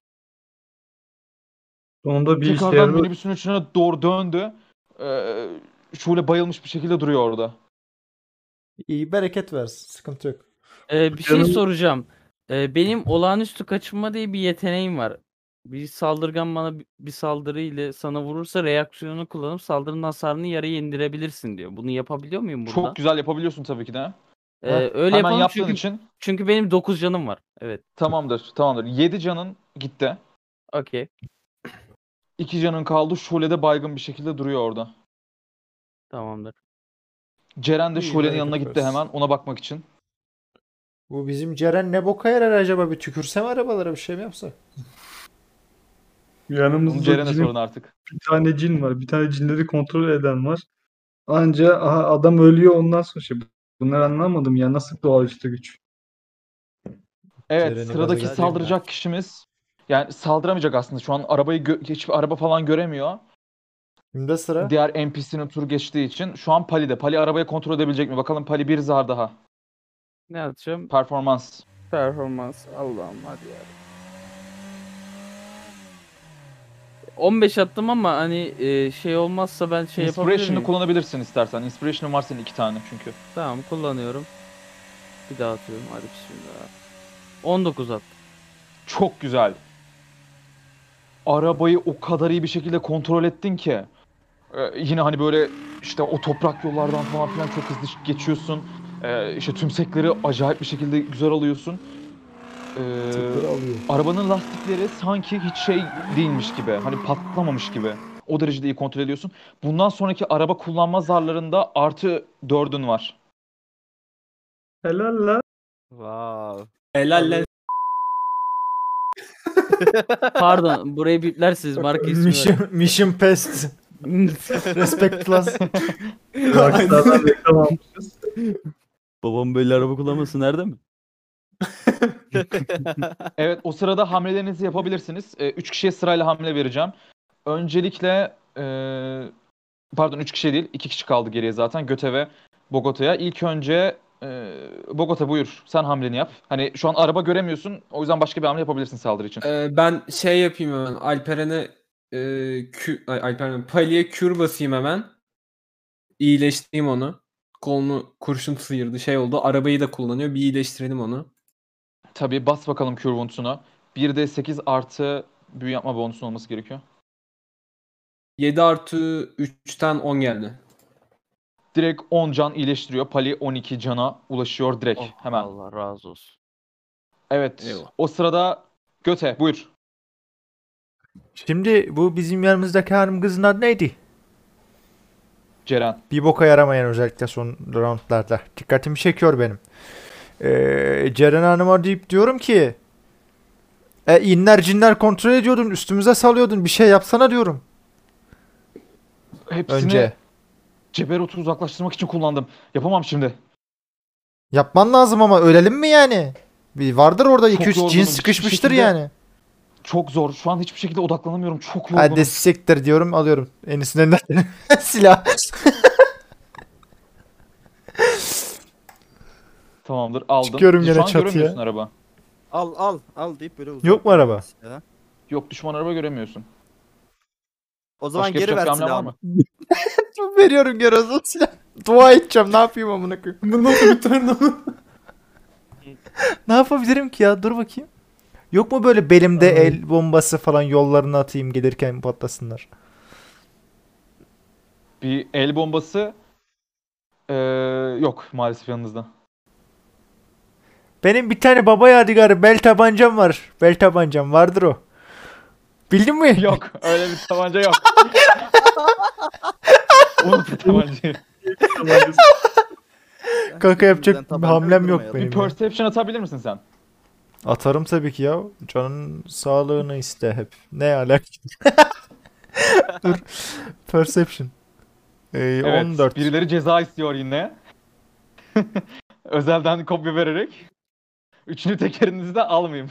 B: Sonunda
E: Tekrardan
B: bilgisayarı
E: minibüsün içine doğru döndü. Ee, şöyle bayılmış bir şekilde duruyor orada.
D: İyi bereket versin. Sıkıntı yok.
G: Ee, bir şey
B: Canım-
G: soracağım. Ee, benim olağanüstü kaçınma diye bir yeteneğim var. Bir saldırgan bana bi- bir saldırı ile sana vurursa reaksiyonunu kullanıp saldırının hasarını yarıya indirebilirsin diyor. Bunu yapabiliyor muyum burada?
E: Çok güzel yapabiliyorsun tabii ki de.
G: Ee, öyle
E: Hemen
G: yapalım
E: yaptığın
G: çünkü,
E: için
G: çünkü benim 9 canım var. Evet.
E: tamamdır. Tamamdır. 7 canın gitti.
G: Okey.
E: 2 canın kaldı. Şule de baygın bir şekilde duruyor orada.
G: Tamamdır.
E: Ceren de
D: İyi,
E: Şule'nin
D: hareket
E: yanına gitti
D: ediyoruz.
E: hemen ona bakmak için.
D: Bu bizim Ceren ne boka yarar acaba? Bir tükürsem arabalara bir şey mi yapsa?
E: Bunu
B: Yanımızda
E: Ceren'e
B: cinin-
E: sorun artık.
B: bir tane cin var. Bir tane cinleri kontrol eden var. Anca aha, adam ölüyor ondan sonra şey. Bunları anlamadım ya. Nasıl doğaüstü güç?
E: Evet
D: Ceren'i
E: sıradaki
D: gaza getirme.
E: saldıracak kişimiz yani saldıramayacak aslında şu an arabayı gö- hiçbir araba falan göremiyor.
D: Şimdi de sıra.
E: Diğer NPC'nin tur geçtiği için şu an Pali'de. Pali arabayı kontrol edebilecek mi? Bakalım Pali bir zar daha.
G: Ne atacağım?
E: Performans.
G: Performans. Allah'ım hadi ya. 15 attım ama hani e, şey olmazsa ben şey yapabilir
E: Inspiration'ı
G: miyim?
E: kullanabilirsin istersen. Inspiration'ın var senin iki tane çünkü.
G: tamam kullanıyorum. Bir daha atıyorum hadi bismillah. 19 attım.
E: Çok güzel. Arabayı o kadar iyi bir şekilde kontrol ettin ki. Ee, yine hani böyle işte o toprak yollardan falan filan çok hızlı geçiyorsun. Ee, işte tümsekleri acayip bir şekilde güzel alıyorsun. Ee,
D: Tıkları alıyor.
E: arabanın lastikleri sanki hiç şey değilmiş gibi. Hani patlamamış gibi. O derecede iyi kontrol ediyorsun. Bundan sonraki araba kullanma zarlarında artı dördün var.
B: Helal la.
C: Wow.
F: Helal lan.
G: Pardon burayı biplersiniz marka ismi. ver.
D: Mission, mission Pest. Respect Plus.
B: Rockstar'dan reklam almışız.
G: Babam böyle araba kullanması nerede mi?
E: Evet o sırada hamlelerinizi yapabilirsiniz. 3 kişiye sırayla hamle vereceğim. Öncelikle e, pardon 3 kişi değil 2 kişi kaldı geriye zaten Göte ve Bogota'ya. İlk önce e, Bogota buyur sen hamleni yap. Hani şu an araba göremiyorsun o yüzden başka bir hamle yapabilirsin saldırı için.
F: Ee, ben şey yapayım hemen. Alperen'e e, kü, ay, Alperen, Pali'ye kür basayım hemen. İyileştireyim onu. Kolunu kurşun sıyırdı şey oldu. Arabayı da kullanıyor. Bir iyileştirelim onu.
E: Tabii bas bakalım Cure Wounds'una. 1d8 artı büyü yapma bonusun olması gerekiyor.
F: 7 artı 3'ten 10 geldi.
E: Direkt 10 can iyileştiriyor. Pali 12 cana ulaşıyor direkt
G: Oh,
E: hemen.
G: Allah razı olsun.
E: Evet
F: Eyvah.
E: o sırada Göte buyur.
D: Şimdi bu bizim yanımızdaki hanım kızın adı neydi?
E: Ceren.
D: Bir boka yaramayan özellikle son roundlarda. Dikkatimi çekiyor benim. Ee, Ceren Hanım'a deyip diyorum ki e, inler cinler kontrol ediyordun üstümüze salıyordun bir şey yapsana diyorum
E: Hepsini
D: önce.
E: Ceberut'u uzaklaştırmak için kullandım. Yapamam şimdi.
D: Yapman lazım ama ölelim mi yani? Bir vardır orada
E: Çok
D: 2-3 cin
E: yorgunum.
D: sıkışmıştır
E: Bir şekilde
D: yani.
E: Çok zor. Şu an hiçbir şekilde odaklanamıyorum. Çok yorgunum.
D: Hadi siktir diyorum alıyorum. Enis'in elinden silah.
E: Tamamdır aldım.
D: Çıkıyorum
E: Şu
D: gene
E: an
D: çatıya.
E: göremiyorsun araba.
C: Al al al deyip böyle
D: Yok mu araba?
C: Ya.
E: Yok düşman araba göremiyorsun.
C: O zaman
E: Başka
C: geri
E: yapacak bir
C: ver
E: hamle var
C: silahımı.
E: mı?
D: Veriyorum Geroz'a silah. Dua edeceğim ne yapayım amına koyayım.
F: Bunu bir tane
D: Ne yapabilirim ki ya dur bakayım. Yok mu böyle belimde el bombası falan yollarına atayım gelirken patlasınlar.
E: Bir el bombası ee, yok maalesef yanınızda.
D: Benim bir tane baba yadigarı bel tabancam var. Bel tabancam vardır o. Bildin mi?
E: Yok öyle bir tabanca yok. Unut tabancayı.
D: Kaka
C: Bizden
D: yapacak
C: tabanca
D: hamlem yok
C: uydurma
D: benim.
E: Bir
D: ya.
E: perception atabilir misin sen?
D: Atarım tabii ki ya. Canın sağlığını iste hep. Ne alak? Dur. Perception. Ee,
E: Evet.
D: 14.
E: Birileri ceza istiyor yine. Özelden kopya vererek. Üçüncü tekerinizi de almayayım.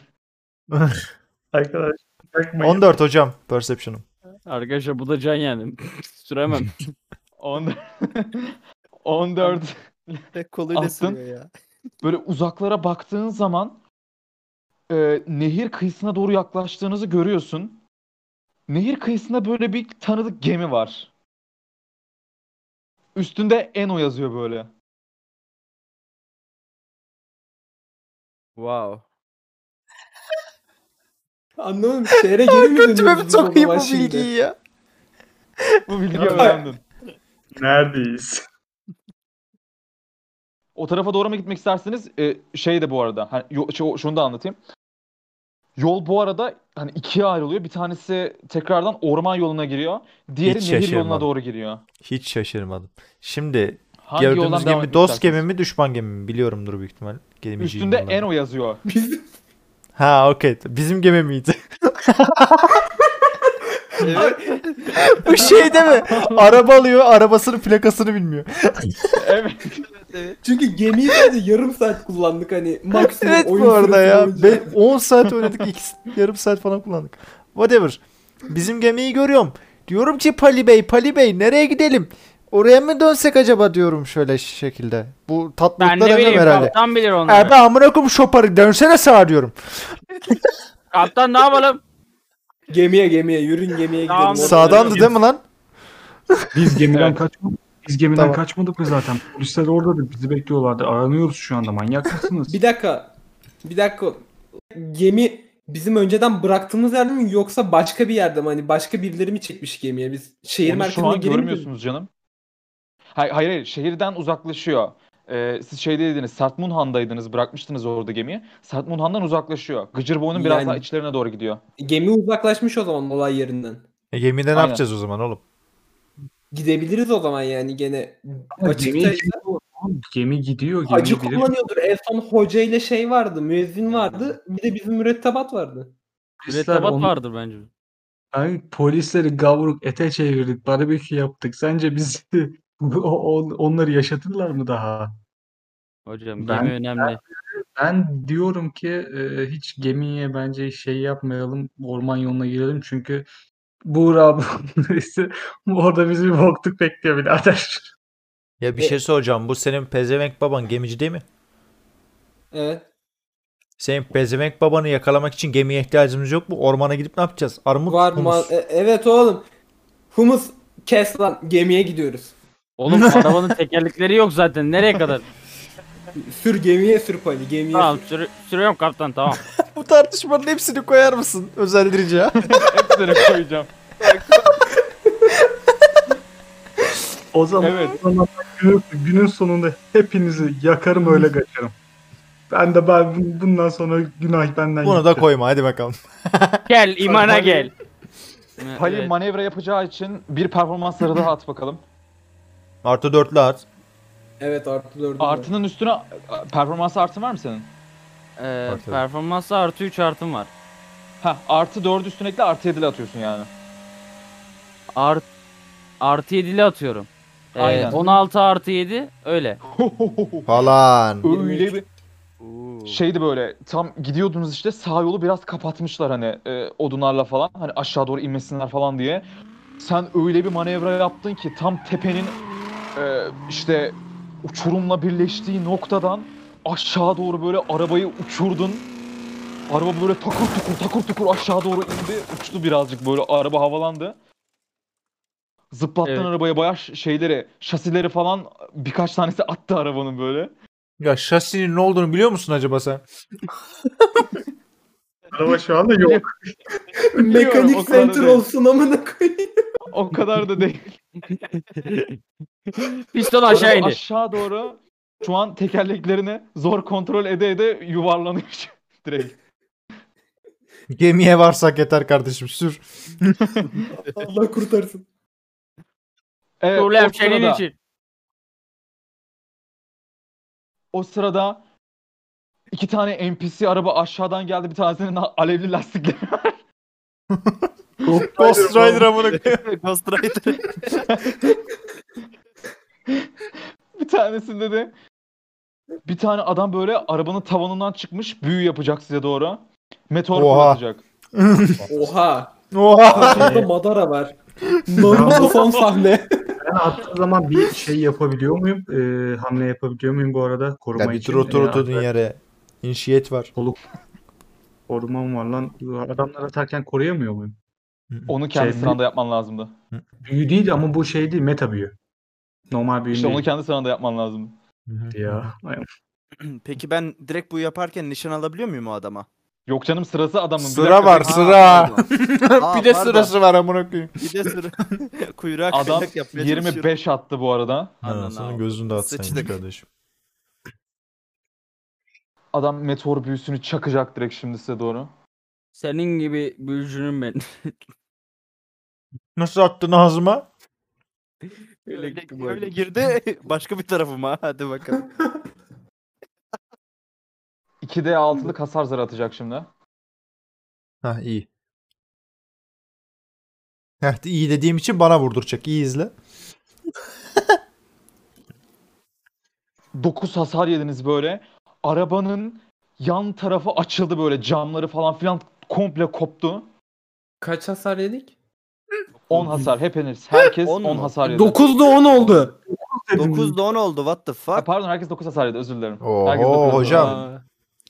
B: Arkadaş bakmayın.
D: 14 hocam perception'ım.
G: Arkadaşlar bu da can yani. Süremem.
E: 14. 14.
C: Tek koluyla
E: Attın.
C: sürüyor ya.
E: böyle uzaklara baktığın zaman e, nehir kıyısına doğru yaklaştığınızı görüyorsun. Nehir kıyısında böyle bir tanıdık gemi var. Üstünde Eno yazıyor böyle.
C: Wow.
F: Anlamadım. Şehre geri mi dönüyoruz? biz o zaman şimdi?
D: ya.
E: Bu bilgiyi öğrendin.
B: Neredeyiz?
E: Ee, O tarafa doğru mu gitmek isterseniz e, şey de bu arada. Hani, yo- şu- şunu da anlatayım. Yol bu arada hani ikiye ayrılıyor. Bir tanesi tekrardan orman yoluna giriyor. Diğeri
D: Hiç
E: nehir yoluna
D: şaşırmadım.
E: doğru giriyor.
D: Hiç şaşırmadım. Şimdi
E: Hangi yoldan
D: gördüğümüz
E: devam
D: gemi
E: etmek
D: dost
E: istersiniz?
D: gemi mi düşman gemi mi biliyorumdur büyük ihtimal. Gemiciyim
E: Üstünde
D: bunların.
E: Eno yazıyor.
D: Ha okey. Bizim gemi miydi?
C: Evet.
D: Bu şey değil mi? Araba alıyor arabasının plakasını bilmiyor.
E: evet.
F: Çünkü gemiyi sadece yarım saat kullandık hani maksimum
D: Evet
F: oyun
D: bu arada
F: süresi
D: ya.
F: boyunca.
D: Be- 10 saat oynadık. iki, yarım saat falan kullandık. Whatever. Bizim gemiyi görüyorum. Diyorum ki Pali Bey, Pali Bey nereye gidelim? Oraya mı dönsek acaba diyorum şöyle şekilde. Bu
G: Ben
D: tatlılıklar
G: ne
D: önemli
G: bileyim
D: herhalde.
G: kaptan bilir onları.
D: Abi amına koyayım şoparı dönsene sağa diyorum.
G: Kaptan ne yapalım?
F: Gemiye gemiye yürün gemiye gidelim.
G: Tamam.
F: Orada
D: Sağdandı
F: dönüyoruz.
D: değil mi lan?
B: Biz gemiden
E: Evet.
B: kaçmadık. Biz gemiden
D: Tamam.
B: kaçmadık mı zaten? Polisler oradadır. Bizi bekliyorlardı. Aranıyoruz şu anda. Manyak mısınız?
F: Bir dakika. Bir dakika. Gemi bizim önceden bıraktığımız yerde mi yoksa başka bir yerde mi? Hani başka birileri mi çekmiş gemiye? Biz şehir
E: Onu şu
F: merkezine
E: an
F: geri mi
E: görmüyorsunuz canım. Hayır, hayır hayır şehirden uzaklaşıyor. Ee, siz şey dediniz Sartmunhan'daydınız bırakmıştınız orada gemiyi. Sartmunhan'dan uzaklaşıyor. Gıcırboğu'nun biraz
F: Yani.
E: daha içlerine doğru gidiyor.
F: dönüyoruz? Gemi uzaklaşmış o zaman olay yerinden.
D: E, gemide ne
E: Aynen.
D: yapacağız o zaman oğlum?
F: Gidebiliriz o zaman yani gene.
B: Ama
F: Açıkta
B: gemi, gidiyor. Oğlum, gemi gidiyor. Gemi
F: acı
B: bilir.
F: kullanıyordur. En son hoca ile şey vardı. Müezzin vardı. Bir de bizim mürettebat vardı.
B: Polisler
G: Mürettebat
B: onu-
G: vardır bence.
B: Ay, polisleri gavruk ete çevirdik. Barbekü yaptık. Sence bizi o- on- onları yaşatırlar mı daha?
G: Hocam
B: Ben-
G: gemi önemli.
B: Ben diyorum ki e, hiç gemiye bence şey yapmayalım. Orman yoluna girelim çünkü Buğra abi birisi orada bizi bir bokluk bekliyor birader.
D: Ya bir
F: E-
D: şey soracağım. Bu senin pezevenk baban gemici değil mi?
F: Evet.
D: Senin pezevenk babanı yakalamak için gemiye ihtiyacımız yok mu? Ormana gidip ne yapacağız? Armut
F: Var
D: humus.
F: ma- e- evet oğlum. Humus kes lan gemiye gidiyoruz.
G: Oğlum arabanın tekerlekleri yok zaten. Nereye kadar?
F: Sür gemiye sür pali gemiye
G: tamam
F: sür.
G: süre, sürüyorum kaptan tamam.
D: Bu tartışmanın hepsini koyar mısın? Özel rica.
E: Hepsini koyacağım.
B: O zaman,
E: Evet.
B: o zaman günün, günün sonunda hepinizi yakarım öyle kaçarım. Ben de ben bu- bundan sonra günah benden
D: Bunu da
B: gitti.
D: koyma hadi bakalım.
G: Gel imana gel. Ee,
E: Pali
G: Evet.
E: manevra yapacağı için bir performansları daha at bakalım.
D: Artı dörtlü at.
F: Evet artı dördü.
E: Artının üstüne performans artın var mı senin?
G: Ee,
D: Artı.
G: performansı artı 3 artım var.
E: Ha artı 4 üstüne ekle artı 7 atıyorsun yani.
G: Art, artı 7'li atıyorum. Ee,
E: Aynen.
G: 16 artı 7 öyle.
D: Falan.
E: Öyle bir şeydi böyle tam gidiyordunuz işte sağ yolu biraz kapatmışlar hani e, odunlarla falan hani aşağı doğru inmesinler falan diye. Sen öyle bir manevra yaptın ki tam tepenin e, işte uçurumla birleştiği noktadan aşağı doğru böyle arabayı uçurdun. Araba böyle takır tukur takır tukur aşağı doğru indi. Uçtu birazcık böyle araba havalandı. Zıplattın
G: Evet.
E: arabaya bayağı ş- şeyleri, şasileri falan birkaç tanesi attı arabanın böyle.
D: Ya şasinin ne olduğunu biliyor musun acaba sen?
B: Araba şu anda yok.
E: Biliyorum, o
F: Mekanik
E: kadar
F: center
E: değil.
F: olsun amına koyayım.
E: O kadar da değil.
G: Piston aşağı
E: Araba
G: indi.
E: Aşağı doğru şu an tekerleklerini zor kontrol ede ede yuvarlanıyor direkt.
D: Gemiye varsak yeter kardeşim sür.
F: Allah kurtarsın.
E: Evet,
G: Problem
E: o sırada,
G: senin için.
E: O sırada iki tane NPC araba aşağıdan geldi bir tanesinin alevli lastikleri.
D: Ghost Rider amına koyayım.
C: Ghost Rider.
E: bir tanesinde de bir tane adam böyle arabanın tavanından çıkmış büyü yapacak size doğru. Meteor
D: Oha.
E: fırlatacak.
F: Oha.
D: Oha.
F: Karşımda Madara var. Naruto son sahne.
B: Ben attığı zaman bir şey yapabiliyor muyum? Ee, hamle yapabiliyor muyum bu arada? Koruma
D: Ya bir
B: için.
D: dur otur
B: Ee,
D: oturdun yere. İnşiyet var.
B: Korumam var lan. Adamlar atarken koruyamıyor muyum?
E: Onu kendi
B: Şey,
E: sıranda yapman lazımdı.
B: Büyü değil ama bu şey değil. Meta büyü. Normal büyü
E: İşte onu
B: değil
E: kendi sıranda yapman lazımdı.
B: ya. Ay,
C: Peki ben direkt bu yaparken nişan alabiliyor muyum o adama?
E: Yok canım sırası adamın. Bir
D: Sıra
E: dakika,
D: var
E: bir-
D: sıra.
C: pardon. Aa,
D: bir de
C: var da.
D: sırası var amına koyayım.
C: Bir de sıra. Kuyruğa
E: Adam
C: kayak yapmaya çalışıyorum.
E: 25 attı bu arada.
D: Ha,
G: Ananı
D: senin
G: avradım.
D: gözünü dağıtsaymış
C: Sıçtık.
D: kardeşim.
E: Adam meteor büyüsünü çakacak direkt şimdi size doğru.
G: Senin gibi büyücünüm ben.
D: Nasıl attın ağzıma?
C: Öyle,
G: gitti bu
C: öyle
G: arada.
C: girdi başka bir tarafıma. Hadi bakalım.
E: 2D6'lık hasar zarı atacak şimdi.
D: Ha iyi. Heh, iyi dediğim için bana vurduracak. İyi izle.
E: 9 hasar yediniz böyle. Arabanın yan tarafı açıldı böyle camları falan filan komple koptu.
F: Kaç hasar yedik?
E: 10 hasar hepiniz. Herkes
C: On
E: 10,
C: mu?
E: hasar yedi.
F: 9'da 10 oldu.
C: 9'da 10 oldu. What the
E: Ha,
C: fuck?
E: pardon herkes 9 hasar yedi özür dilerim.
D: Oho,
E: herkes dokuz hasar
D: hocam.
E: yedi.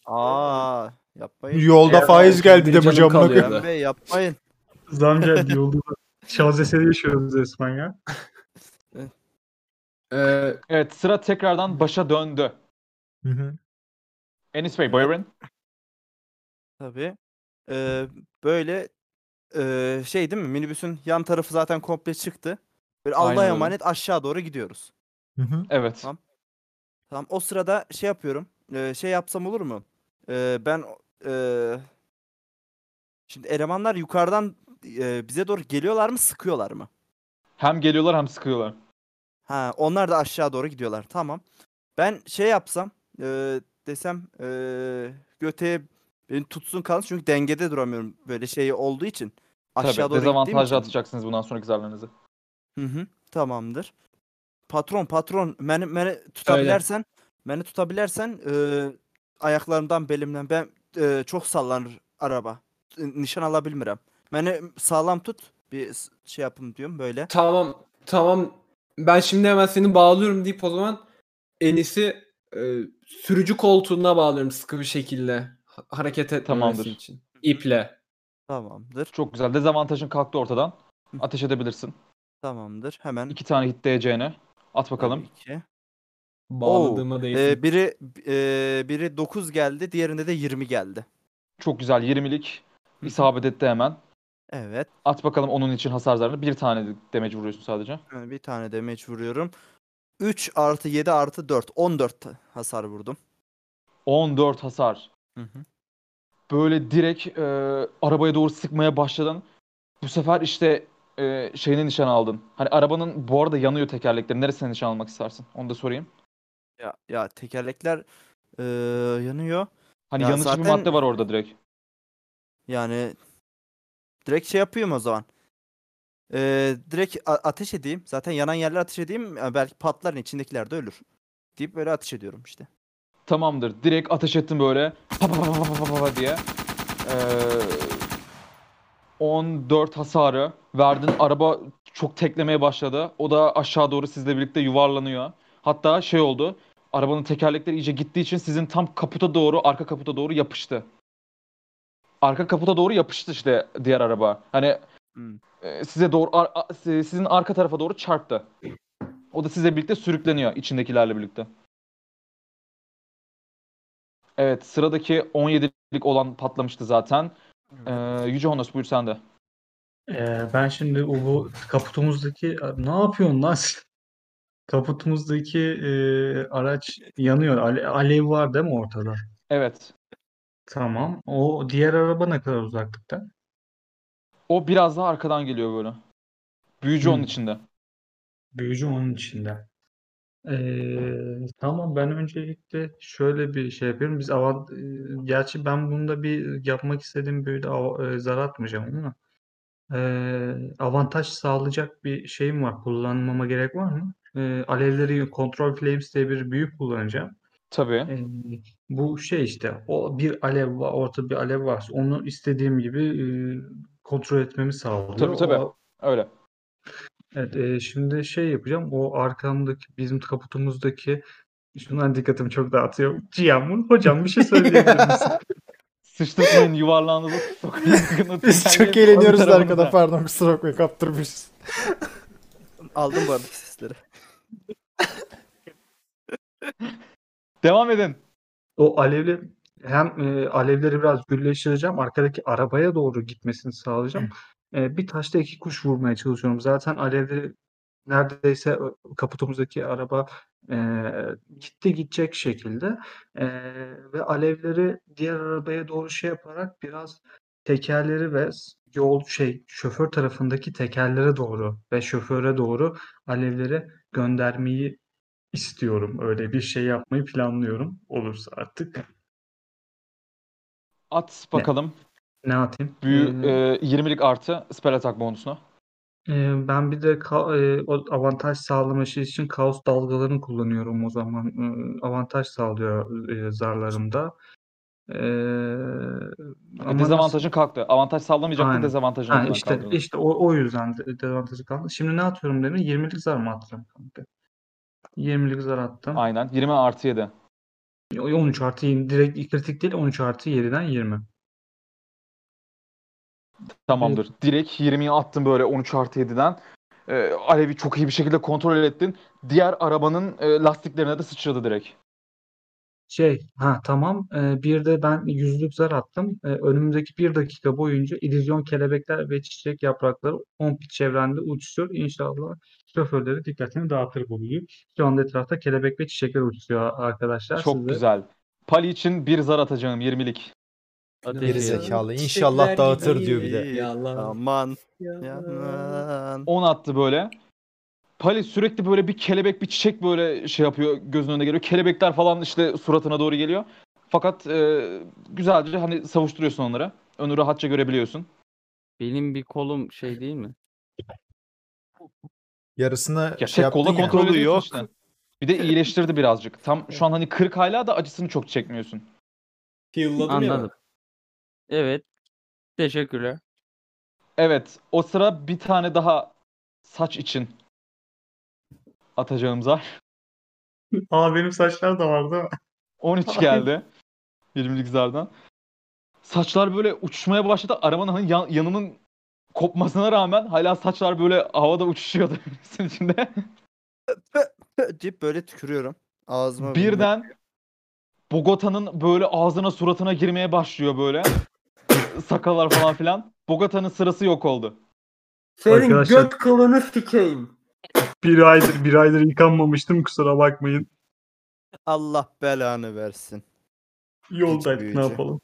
F: Aa,
C: Aa, yapmayın.
D: Yolda
F: Evet,
D: faiz geldi de bu
F: canım
D: camına.
F: kalıyor.
D: koy-
C: Kerem Bey yapmayın.
B: Zam geldi yolda. Şazeseri yaşıyoruz resmen ya.
F: Ee,
E: Evet sıra tekrardan başa döndü.
D: Hı hı.
E: Enis Bey buyurun.
C: Tabii. Ee, böyle ee, şey değil mi? Minibüsün yan tarafı zaten komple çıktı. Böyle
E: Aynen
C: Allah'a
E: öyle.
C: emanet aşağı doğru gidiyoruz.
D: Hı hı.
E: Evet.
C: Tamam. Tamam. O sırada şey yapıyorum. Ee, şey yapsam olur mu? Ee, ben ee, şimdi elemanlar yukarıdan ee, bize doğru geliyorlar mı, sıkıyorlar mı?
E: Hem geliyorlar hem sıkıyorlar.
C: Ha, onlar da aşağı doğru gidiyorlar. Tamam. Ben şey yapsam, eee, desem eee göteye beni tutsun kalsın çünkü dengede duramıyorum böyle şey olduğu için. Aşağı
E: Tabii
C: doğru gittiğim
E: dezavantajlı
C: için.
E: atacaksınız bundan sonraki zarlarınızı.
C: Hı hı. Tamamdır. Patron, patron, beni beni tutabilirsen, beni tutabilirsen eee, ayaklarımdan belimden ben eee, çok sallanır araba. N- Nişan alabilmirem. Beni sağlam tut. Bir s- şey yapın diyorum böyle.
F: tamam tamam. Ben şimdi hemen seni bağlıyorum deyip o zaman Enis'i e, sürücü koltuğuna bağlıyorum sıkı bir şekilde. Ha- Hareket etmemesi
E: Tamamdır.
F: için. İple.
C: Tamamdır.
E: Çok güzel. Dezavantajın kalktı ortadan.
C: Hı.
E: Ateş edebilirsin.
C: Tamamdır. Hemen
E: İki tane hit DC'ne. At bakalım.
C: tabii ki.
F: Bağladığıma değsin.
C: Ee, biri e, biri 9 geldi, diğerinde de 20 geldi.
E: Çok güzel 20'lik isabet etti hemen.
C: Evet.
E: At bakalım onun için hasar zarını. Bir tane damage vuruyorsun sadece.
C: e, Bir tane damage vuruyorum. 3 artı 7 artı 4. 14 ta- hasar vurdum.
E: 14 hasar.
C: Hı hı.
E: Böyle direkt e, arabaya doğru sıkmaya başladın. Bu sefer işte e, şeyine nişan aldın. Hani arabanın bu arada yanıyor tekerlekleri. Neresine nişan almak istersin? Onu da sorayım.
C: Ya, ya tekerlekler e, yanıyor.
E: Hani
C: Ya
E: yanıcı bir
C: zaten-
E: madde var orada direkt.
C: Yani direkt şey yapıyorum o zaman. E, direkt a- ateş edeyim. Zaten yanan yerler ateş edeyim. e, Belki patların içindekiler de ölür. Deyip böyle ateş ediyorum işte.
E: Tamamdır. Direkt ateş ettin böyle. Pa pa pa pa pa pa pa diye. Ee, 14 hasarı verdin. Araba çok teklemeye başladı. O da aşağı doğru sizle birlikte yuvarlanıyor. Hatta şey oldu. Arabanın tekerlekleri iyice gittiği için sizin tam kaputa doğru, arka kaputa doğru yapıştı. Arka kaputa doğru yapıştı işte diğer araba. Hani
C: Hmm.
E: e, size doğru ar- a- si- sizin arka tarafa doğru çarptı. O da size birlikte sürükleniyor içindekilerle birlikte. Evet sıradaki 17'lik olan patlamıştı zaten. Ee, Yüce Honos buyur sen de.
B: Ee, ben şimdi o bu kaputumuzdaki ne yapıyorsun lan sen? Kaputumuzdaki e, araç yanıyor. Ale- alev var değil mi ortada?
E: Evet.
B: Tamam. O diğer araba ne kadar uzaklıkta?
E: O biraz daha arkadan geliyor böyle. Büyücü onun
B: Hmm.
E: içinde.
B: Büyücü onun içinde. Ee, tamam ben öncelikle şöyle bir şey yapıyorum. Biz avant e, gerçi ben bunda bir yapmak istediğim büyüde av- e, zar atmayacağım ama ee, avantaj sağlayacak bir şeyim var. Kullanmama gerek var mı? Ee, alevleri Control Flames diye bir büyü kullanacağım.
E: Tabii.
B: Ee, bu şey işte o bir alev var, orta bir alev varsa onu istediğim gibi e, kontrol etmemi sağlıyor.
E: Tabii, tabii.
B: O-
E: Öyle.
B: Evet, e, şimdi şey yapacağım. O arkamdaki bizim kaputumuzdaki şundan dikkatimi çok dağıtıyor. Cihan'ın hocam bir şey söyleyebilir misin?
E: Sıçtırmayın yuvarlandınız. Sokayım sıkıntı.
D: Biz
E: Tekerleği
D: çok eğleniyoruz da
E: tarafınıza.
D: arkada pardon kusura bakmayın kaptırmışız.
C: Aldım bu arada sesleri.
E: Devam edin.
B: O alevli hem e, alevleri biraz gülleştireceğim. Arkadaki arabaya doğru gitmesini sağlayacağım. E, bir taşla iki kuş vurmaya çalışıyorum. Zaten alevleri neredeyse ö, kaputumuzdaki araba e, gitti gidecek şekilde E, ve alevleri diğer arabaya doğru şey yaparak biraz tekerleri ve s- yol şey şoför tarafındaki tekerlere doğru ve şoföre doğru alevlere göndermeyi istiyorum. Öyle bir şey yapmayı planlıyorum. Olursa artık
E: At bakalım.
B: ne atayım?
E: Büyü
B: Hmm.
E: e, 20'lik artı spell attack bonusuna.
B: Ee, ben bir de ka- e, o avantaj sağlaması için kaos dalgalarını kullanıyorum o zaman. Ee, avantaj sağlıyor e, zarlarımda. Ee, ama nasıl-
E: Dezavantajın kalktı. Avantaj sağlamayacaktın
B: Aynen.
E: dezavantajın
B: Ha,
E: ortadan
B: işte
E: kaldırdı.
B: işte o, o yüzden de- dezavantajı kaldı. Şimdi ne atıyorum demin? 20'lik zar mı attım kanka? 20'lik zar attım.
E: Aynen. 20 artı 7.
B: O- 13 artı 20 direkt kritik değil 13 artı 7'den 20.
E: Tamamdır. Direkt 20'yi attın böyle 13 artı 7'den. Ee, Alev'i çok iyi bir şekilde kontrol ettin. Diğer arabanın e, lastiklerine de sıçradı direkt.
B: Şey, ha tamam. Ee, bir de ben yüzlük zar attım. Ee, önümüzdeki bir dakika boyunca illüzyon kelebekler ve çiçek yaprakları 10 fit çevrende uçuşuyor. İnşallah şoförleri dikkatini dağıtır bu bilgi. Şu anda etrafta kelebek ve çiçekler uçuyor arkadaşlar.
E: Çok
B: Size
E: güzel. Pali için bir zar atacağım 20'lik.
G: Ateş
D: Geri
G: ediyorum.
D: zekalı.
F: Çiçekler
D: İnşallah dağıtır
F: gibi
D: diyor bir de.
F: Yalan.
C: Aman.
F: yalan.
C: Yaman.
E: 10 attı böyle. Pali sürekli böyle bir kelebek bir çiçek böyle şey yapıyor gözünün önüne geliyor. Kelebekler falan işte suratına doğru geliyor. Fakat e, güzelce hani savuşturuyorsun onları. Önü rahatça görebiliyorsun.
G: Benim bir kolum şey değil mi?
D: Yarısını
E: Ya tek
D: şey yaptın
E: kolla
D: ya.
E: kontrol
C: Kolu
E: ediyorsun
C: yok.
E: işte. Bir de iyileştirdi birazcık. Tam şu an hani 40 hala da acısını çok çekmiyorsun.
F: Heal'ladım ya ben.
G: Anladım. Evet. Teşekkürler.
E: Evet, o sıra bir tane daha saç için atacağım zar.
B: Aa benim saçlar da vardı.
E: 13
B: Ay.
E: geldi. 20'lik zardan. Saçlar böyle uçmaya başladı. Arabanın hani yan- yanının kopmasına rağmen hala saçlar böyle havada uçuşuyordu hepsinin içinde.
C: Deyip böyle tükürüyorum. Ağzıma böyle.
E: Birden Bogota'nın böyle ağzına suratına girmeye başlıyor böyle. Sakallar falan filan. Bogota'nın sırası yok oldu.
F: Senin
B: Arkadaşlar-
F: göt kılını sikeyim.
B: Bir aydır bir aydır yıkanmamıştım kusura bakmayın.
C: Allah belanı versin.
B: Yoldaydık ne
C: büyüyecek.
B: yapalım?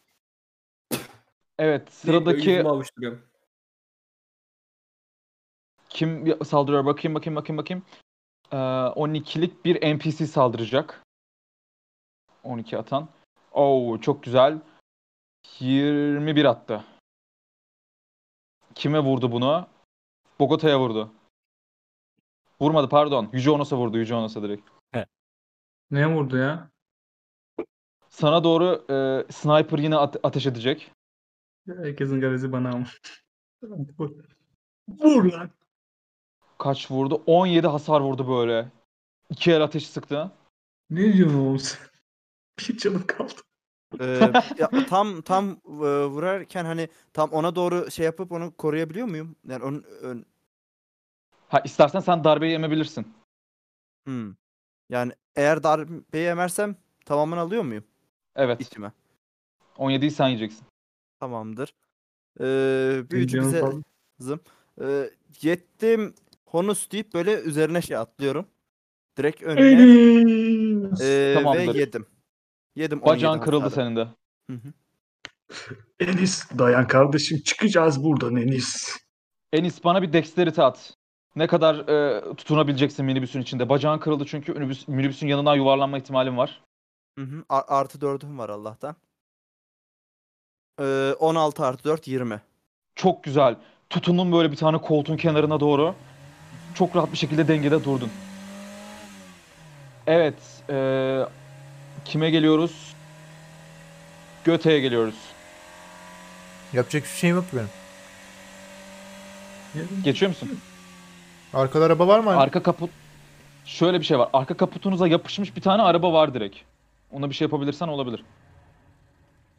E: Evet,
F: Değil,
E: sıradaki
F: yüzümü avuşturuyorum.
E: Kim ya- saldırıyor? Bakayım bakayım bakayım bakayım. Ee, 12'lik bir NPC saldıracak. 12 atan. Oo çok güzel. 21 attı. Kime vurdu bunu? Bogota'ya vurdu. Vurmadı pardon. Yüce Onos'a vurdu. Yüce Onos'a direkt.
B: Ne vurdu ya?
E: Sana doğru e, sniper yine ate- ateş edecek.
B: Herkesin garezi bana ama. Vur lan.
E: Kaç vurdu? 17 hasar vurdu böyle. İki el ateş sıktı.
B: Ne diyorsun oğlum sen? Bir canım kaldı.
C: Ee, ya tam tam e, vurarken hani tam ona doğru şey yapıp onu koruyabiliyor muyum? Yani onun ön,
E: Ha istersen sen darbeyi yemebilirsin.
C: Hmm. Yani eğer darbeyi emersem tamamını alıyor muyum
E: Evet.
C: içime?
E: 17'yi sen yiyeceksin.
C: Tamamdır. Ee,
B: Bir
C: büyücü
B: canım
C: bize
B: kaldı.
C: Ee, yettim honus deyip böyle üzerine şey atlıyorum. Direkt önüne
B: Enes.
C: ee,
E: Tamamdır.
C: ve yedim. Yedim 17
E: Bacağın kırıldı
C: hasarı.
E: senin de.
B: Enis dayan kardeşim çıkacağız buradan Enis.
E: Enis bana bir dexterity at. Ne kadar e, tutunabileceksin minibüsün içinde. Bacağın kırıldı çünkü minibüs, minibüsün yanından yuvarlanma ihtimalin var.
C: Hı hı. A- Artı 4'üm var Allah'tan. Ee, 16 artı 4 20.
E: Çok güzel. Tutundun böyle bir tane koltuğun kenarına doğru. Çok rahat bir şekilde dengede durdun. Evet. e, kime geliyoruz? Göte'ye geliyoruz.
D: Yapacak hiçbir şeyim yok ki benim.
E: Geçiyor musun?
D: Arkada araba var mı?
E: Arka kaput... Şöyle bir şey var. Arka kaputunuza yapışmış bir tane araba var direkt. Ona bir şey yapabilirsen olabilir.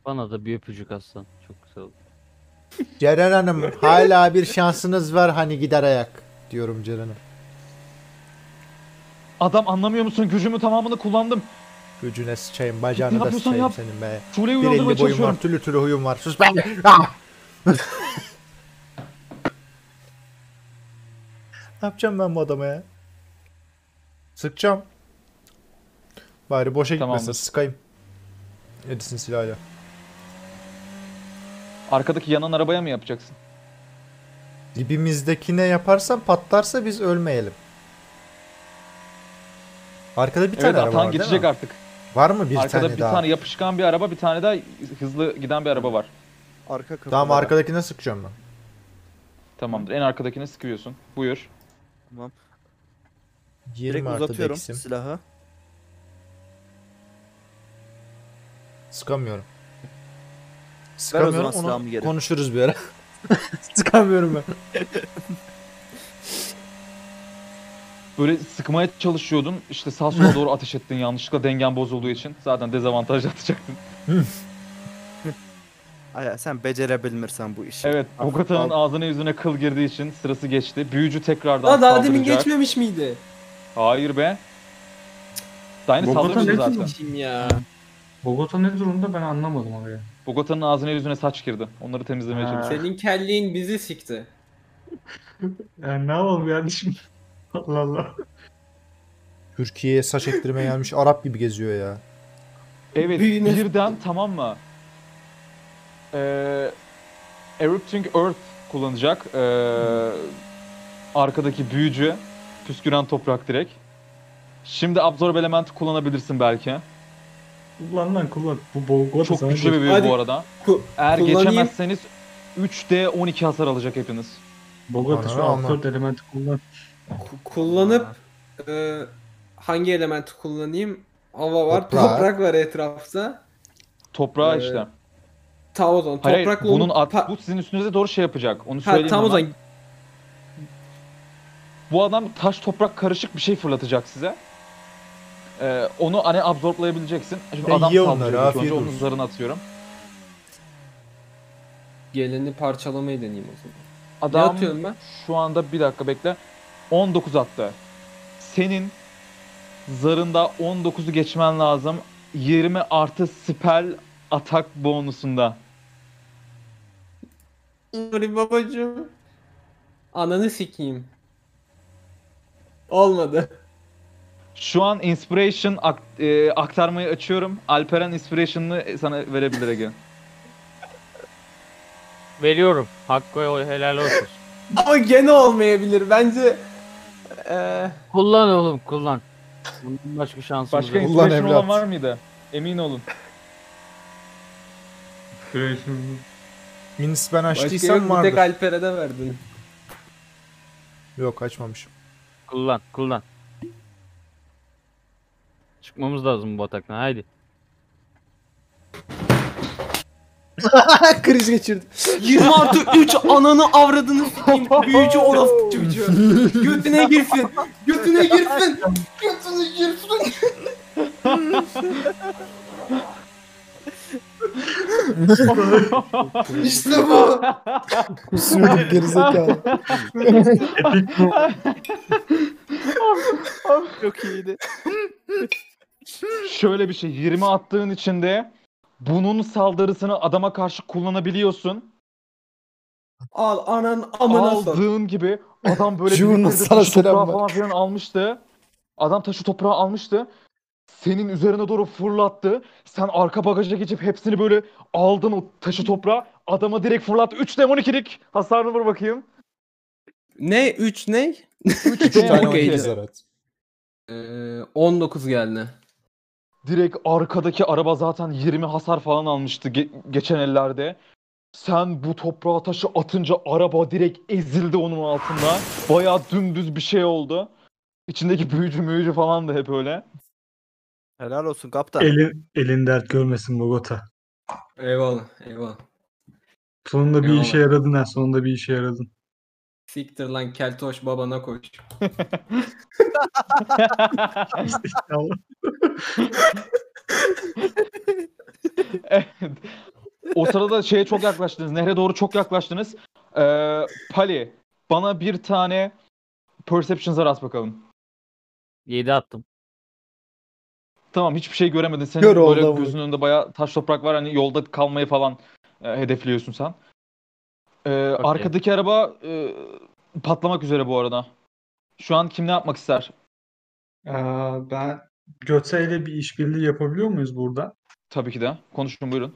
G: Bana da bir öpücük aslan. Çok güzel oldu.
D: Ceren Hanım hala bir şansınız var hani gider ayak diyorum Ceren'e.
E: Adam anlamıyor musun? Gücümü tamamını kullandım.
D: Gücüne sıçayım bacağını da
E: yapıyorsan
D: sıçayım
E: yap.
D: senin be.
E: Tuğle'yi
D: Bir
E: uyandırmaya
D: elli boyum
E: çalışıyorum.
D: var türlü türlü huyum var. Sus be. Ah! ne yapacağım ben bu adama ya? Sıkacağım. Bari boşa gitmesin
E: Tamamdır.
D: sıkayım. Edison silahıyla.
E: Arkadaki yanan arabaya mı yapacaksın?
D: Dibimizdekine yaparsan patlarsa biz ölmeyelim. Arkada bir
E: evet
D: tane araba
E: atan
D: var değil
E: geçecek
D: mi?
E: artık.
D: Var mı bir
E: Arkada
D: tane
E: bir
D: daha?
E: tane yapışkan bir araba, bir tane daha hızlı giden bir araba var.
C: Arka kapı.
D: Tamam
C: var.
D: arkadakine sıkacağım ben.
E: Tamamdır. En arkadakine sıkıyorsun. Buyur.
C: Direkt
D: 20 artı
C: uzatıyorum
D: deksim.
C: silahı.
D: Sıkamıyorum.
C: zaman
D: Sıkamıyorum
C: silahımı
D: onu
C: geri.
D: konuşuruz bir ara. Sıkamıyorum ben.
E: Böyle sıkmaya çalışıyordun. İşte sağ sola doğru ateş ettin yanlışlıkla dengen bozulduğu için. Zaten dezavantaj atacaktın.
C: Aya sen becerebilmirsen bu işi.
E: Evet.
C: Al-
E: Bogota'nın
C: al.
E: ağzına yüzüne kıl girdiği için sırası geçti. Büyücü tekrardan
F: Daha, daha demin
E: saldıracak.
F: geçmemiş miydi?
E: Hayır be. Daha yeni
H: Bogota
E: saldırmıştı
H: ne
E: zaten.
F: Geçeyim ya.
H: Bogota ne durumda ben anlamadım oraya.
E: Bogota'nın ağzına yüzüne saç girdi. Onları temizlemeye
H: Ha.
E: çalışıyor.
F: Senin kelliğin bizi sikti.
H: Yani ne yapalım kardeşim? Allah Allah.
D: Türkiye'ye saç ektirmeye gelmiş Arap gibi geziyor ya.
E: Evet.
F: Büyüğüne-
E: Birden tamam mı? Ee, Erupting Earth kullanacak. Ee, arkadaki büyücü. Püsküren toprak direkt. Şimdi Absorb Element'i kullanabilirsin belki.
H: Kullan lan kullan. Bu Bogota
E: Çok
H: sana
E: güçlü bir
H: gel-
E: büyü
F: Hadi.
E: bu arada.
F: Ku-
E: Eğer
F: Kullanayım.
E: geçemezseniz 3D 12 hasar alacak hepiniz.
H: Bogota şu
D: Ananı alma.
H: absurd elementi kullan.
F: ku- kullanıp e, hangi elementi kullanayım? Hava var,
D: Toprak.
F: toprak, var etrafta.
E: Toprağa
F: Ee,
E: işte.
F: Tavozon.
E: Hayır, hayır,
F: Toprakla
E: bunun
F: onu-
E: at,
F: Pa-
E: bu sizin üstünüze doğru şey yapacak. Onu
F: ha,
E: söyleyeyim
F: tam o
E: hemen.
F: zaman
E: Bu adam taş toprak karışık bir şey fırlatacak size. Ee, onu hani absorplayabileceksin. Şimdi
D: Ya
E: adam
D: ye onları,
E: saldırıyor ilk
D: afiyet
E: önce onun
D: olsun.
E: zarını atıyorum.
F: geleni parçalamayı deneyeyim o zaman. Ne
E: Adam
F: atıyorum ben?
E: şu anda bir dakika bekle. 19 attı. Senin zarında 19'u geçmen lazım. 20 artı spell atak bonusunda.
F: Umarım babacığım. Ananı sikeyim. Olmadı.
E: Şu an inspiration ak- e, aktarmayı açıyorum. Alperen inspiration'ını sana verebilir Ege.
G: Veriyorum. Hakkı helal olsun.
F: Ama gene olmayabilir. Bence eee
G: kullan oğlum kullan. Bundan başka şansımız
E: Başka
G: yok.
D: Ulan
E: inspiration
D: evlat.
E: olan var mıydı? Emin olun.
H: Kreşim.
D: Minis ben
F: başka
D: açtıysam
F: yok. Bir
D: vardır.
F: tek Alper'e de verdin.
D: Yok açmamışım.
G: Kullan kullan. Çıkmamız lazım bu bataktan haydi.
C: Kriz geçirdim.
F: 20 artı 3 ananı avradını sikeyim. Büyücü orospu çocuğu. Götüne girsin. Götüne girsin. Götüne girsin. işte bu.
I: Sürüdük gerizekalı.
C: Çok iyiydi.
E: Şöyle bir şey 20 attığın içinde bunun saldırısını adama karşı kullanabiliyorsun.
F: Al anan amına sok.
E: Aldığın gibi adam böyle
I: Junior
E: birlikte
I: sana
E: taşı
I: selam
E: toprağı
I: var.
E: falan filan almıştı. Adam taşı toprağı almıştı. Senin üzerine doğru fırlattı. Sen arka bagaja geçip hepsini böyle aldın o taşı toprağı. Adama direkt fırlattı. 3 demon 12'lik hasarını vur bakayım.
F: Ne 3 ne?
E: 3
F: Üç tane
E: demon
F: okey.
E: 12'lik.
D: Zarat.
F: Ee, 19 geldi.
E: Direkt arkadaki araba zaten 20 hasar falan almıştı ge- geçen ellerde. Sen bu toprağa taşı atınca araba direkt ezildi onun altında. Bayağı dümdüz bir şey oldu. İçindeki büyücü müyücü falan da hep öyle.
C: Helal olsun kaptan.
B: Elin, elin dert görmesin Bogota.
F: Eyvallah eyvallah.
B: Sonunda bir
F: Eyvallah.
B: işe yaradın ha. Sonunda bir işe yaradın.
F: Siktir lan keltoş babana koş.
E: Evet. O sırada şeye çok yaklaştınız. Nehre doğru çok yaklaştınız. Ee, Pali bana bir tane Perception zarat bakalım.
G: 7 attım.
E: Tamam hiçbir şey göremedin. Senin
I: Kör oldu
E: böyle
I: ama.
E: gözünün önünde bayağı taş toprak var. Hani yolda kalmayı falan e, hedefliyorsun sen. Ee,
G: Okey.
E: Arkadaki araba e, patlamak üzere bu arada. Şu an kim ne yapmak ister?
H: Aa, ben Göte ile bir işbirliği yapabiliyor muyuz burada?
E: Tabii ki de. Konuşun buyurun.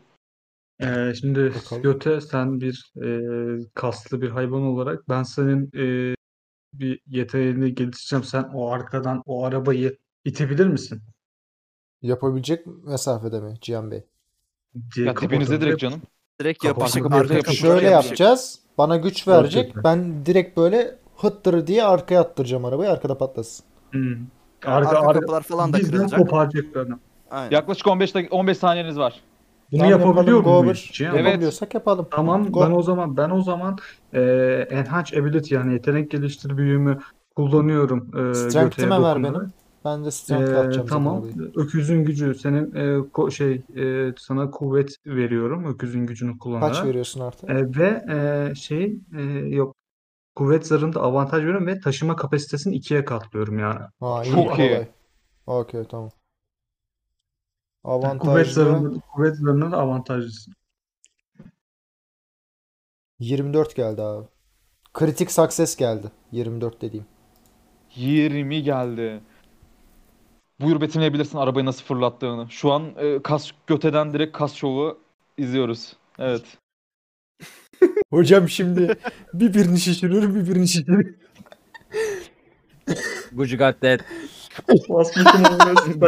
B: Ee, şimdi
D: Bakalım.
B: Göte sen bir e, kaslı bir hayvan olarak ben senin e, bir yeteneğini geliştireceğim. Sen o arkadan o arabayı itebilir misin?
D: Yapabilecek mesafede mi Cihan Bey?
B: diye
E: Ya dibinize
B: kapatalım.
E: direkt canım.
C: Direkt
E: Kapatın
C: yapışık.
E: kapıyı,
C: Arka
E: yapışık.
C: kapıları
D: Şöyle
C: yapışık.
D: yapacağız. Bana güç
B: Doğru
D: verecek.
B: diyorsun.
D: Ben direkt böyle hıttır diye arkaya attıracağım arabayı. Arkada patlasın.
B: Hmm.
C: Arka,
B: Arka, arka,
C: kapılar falan da
B: bizden
C: kırılacak.
B: koparacak adam.
C: Aynen.
E: Yaklaşık 15 dakika 15 saniyeniz var.
B: Bunu
D: Tamam, yapalım,
B: yapabiliyor
D: go
B: muyuz?
D: over.
B: Cihan?
E: Evet.
D: Yapabiliyorsak yapalım.
B: Tamam
D: Go.
B: ben o zaman ben o zaman eee Enhance Ability yani yetenek geliştir büyüğümü kullanıyorum eee
D: Strength'ime
B: göteye
D: ver
B: dokundu.
D: benim. Ben de
B: Eee,
D: strength atacağım zaten
B: Ee, tamam.
D: arabayı.
B: Öküzün gücü senin eee, ko- şey eee, sana kuvvet veriyorum öküzün gücünü kullanarak.
D: Kaç veriyorsun artık?
B: Eee, ve eee, şey eee, yok kuvvet zarında avantaj veriyorum ve taşıma kapasitesini ikiye katlıyorum yani.
D: Ha, iyi.
E: Çok iyi.
D: Kolay. Okey tamam.
B: Yani
D: Avantajlı.
B: kuvvet zarında kuvvet zarında da avantajlısın.
D: 24 geldi abi. Kritik success geldi. 24 dediğim.
E: 20 geldi. Buyur betimleyebilirsin arabayı nasıl fırlattığını. Şu an e, kas göteden direkt kas şovu izliyoruz. Evet.
D: Hocam şimdi bir birini şişirir bir birini şişirir.
G: Gucu got that.
B: Basmışım olmuyorsun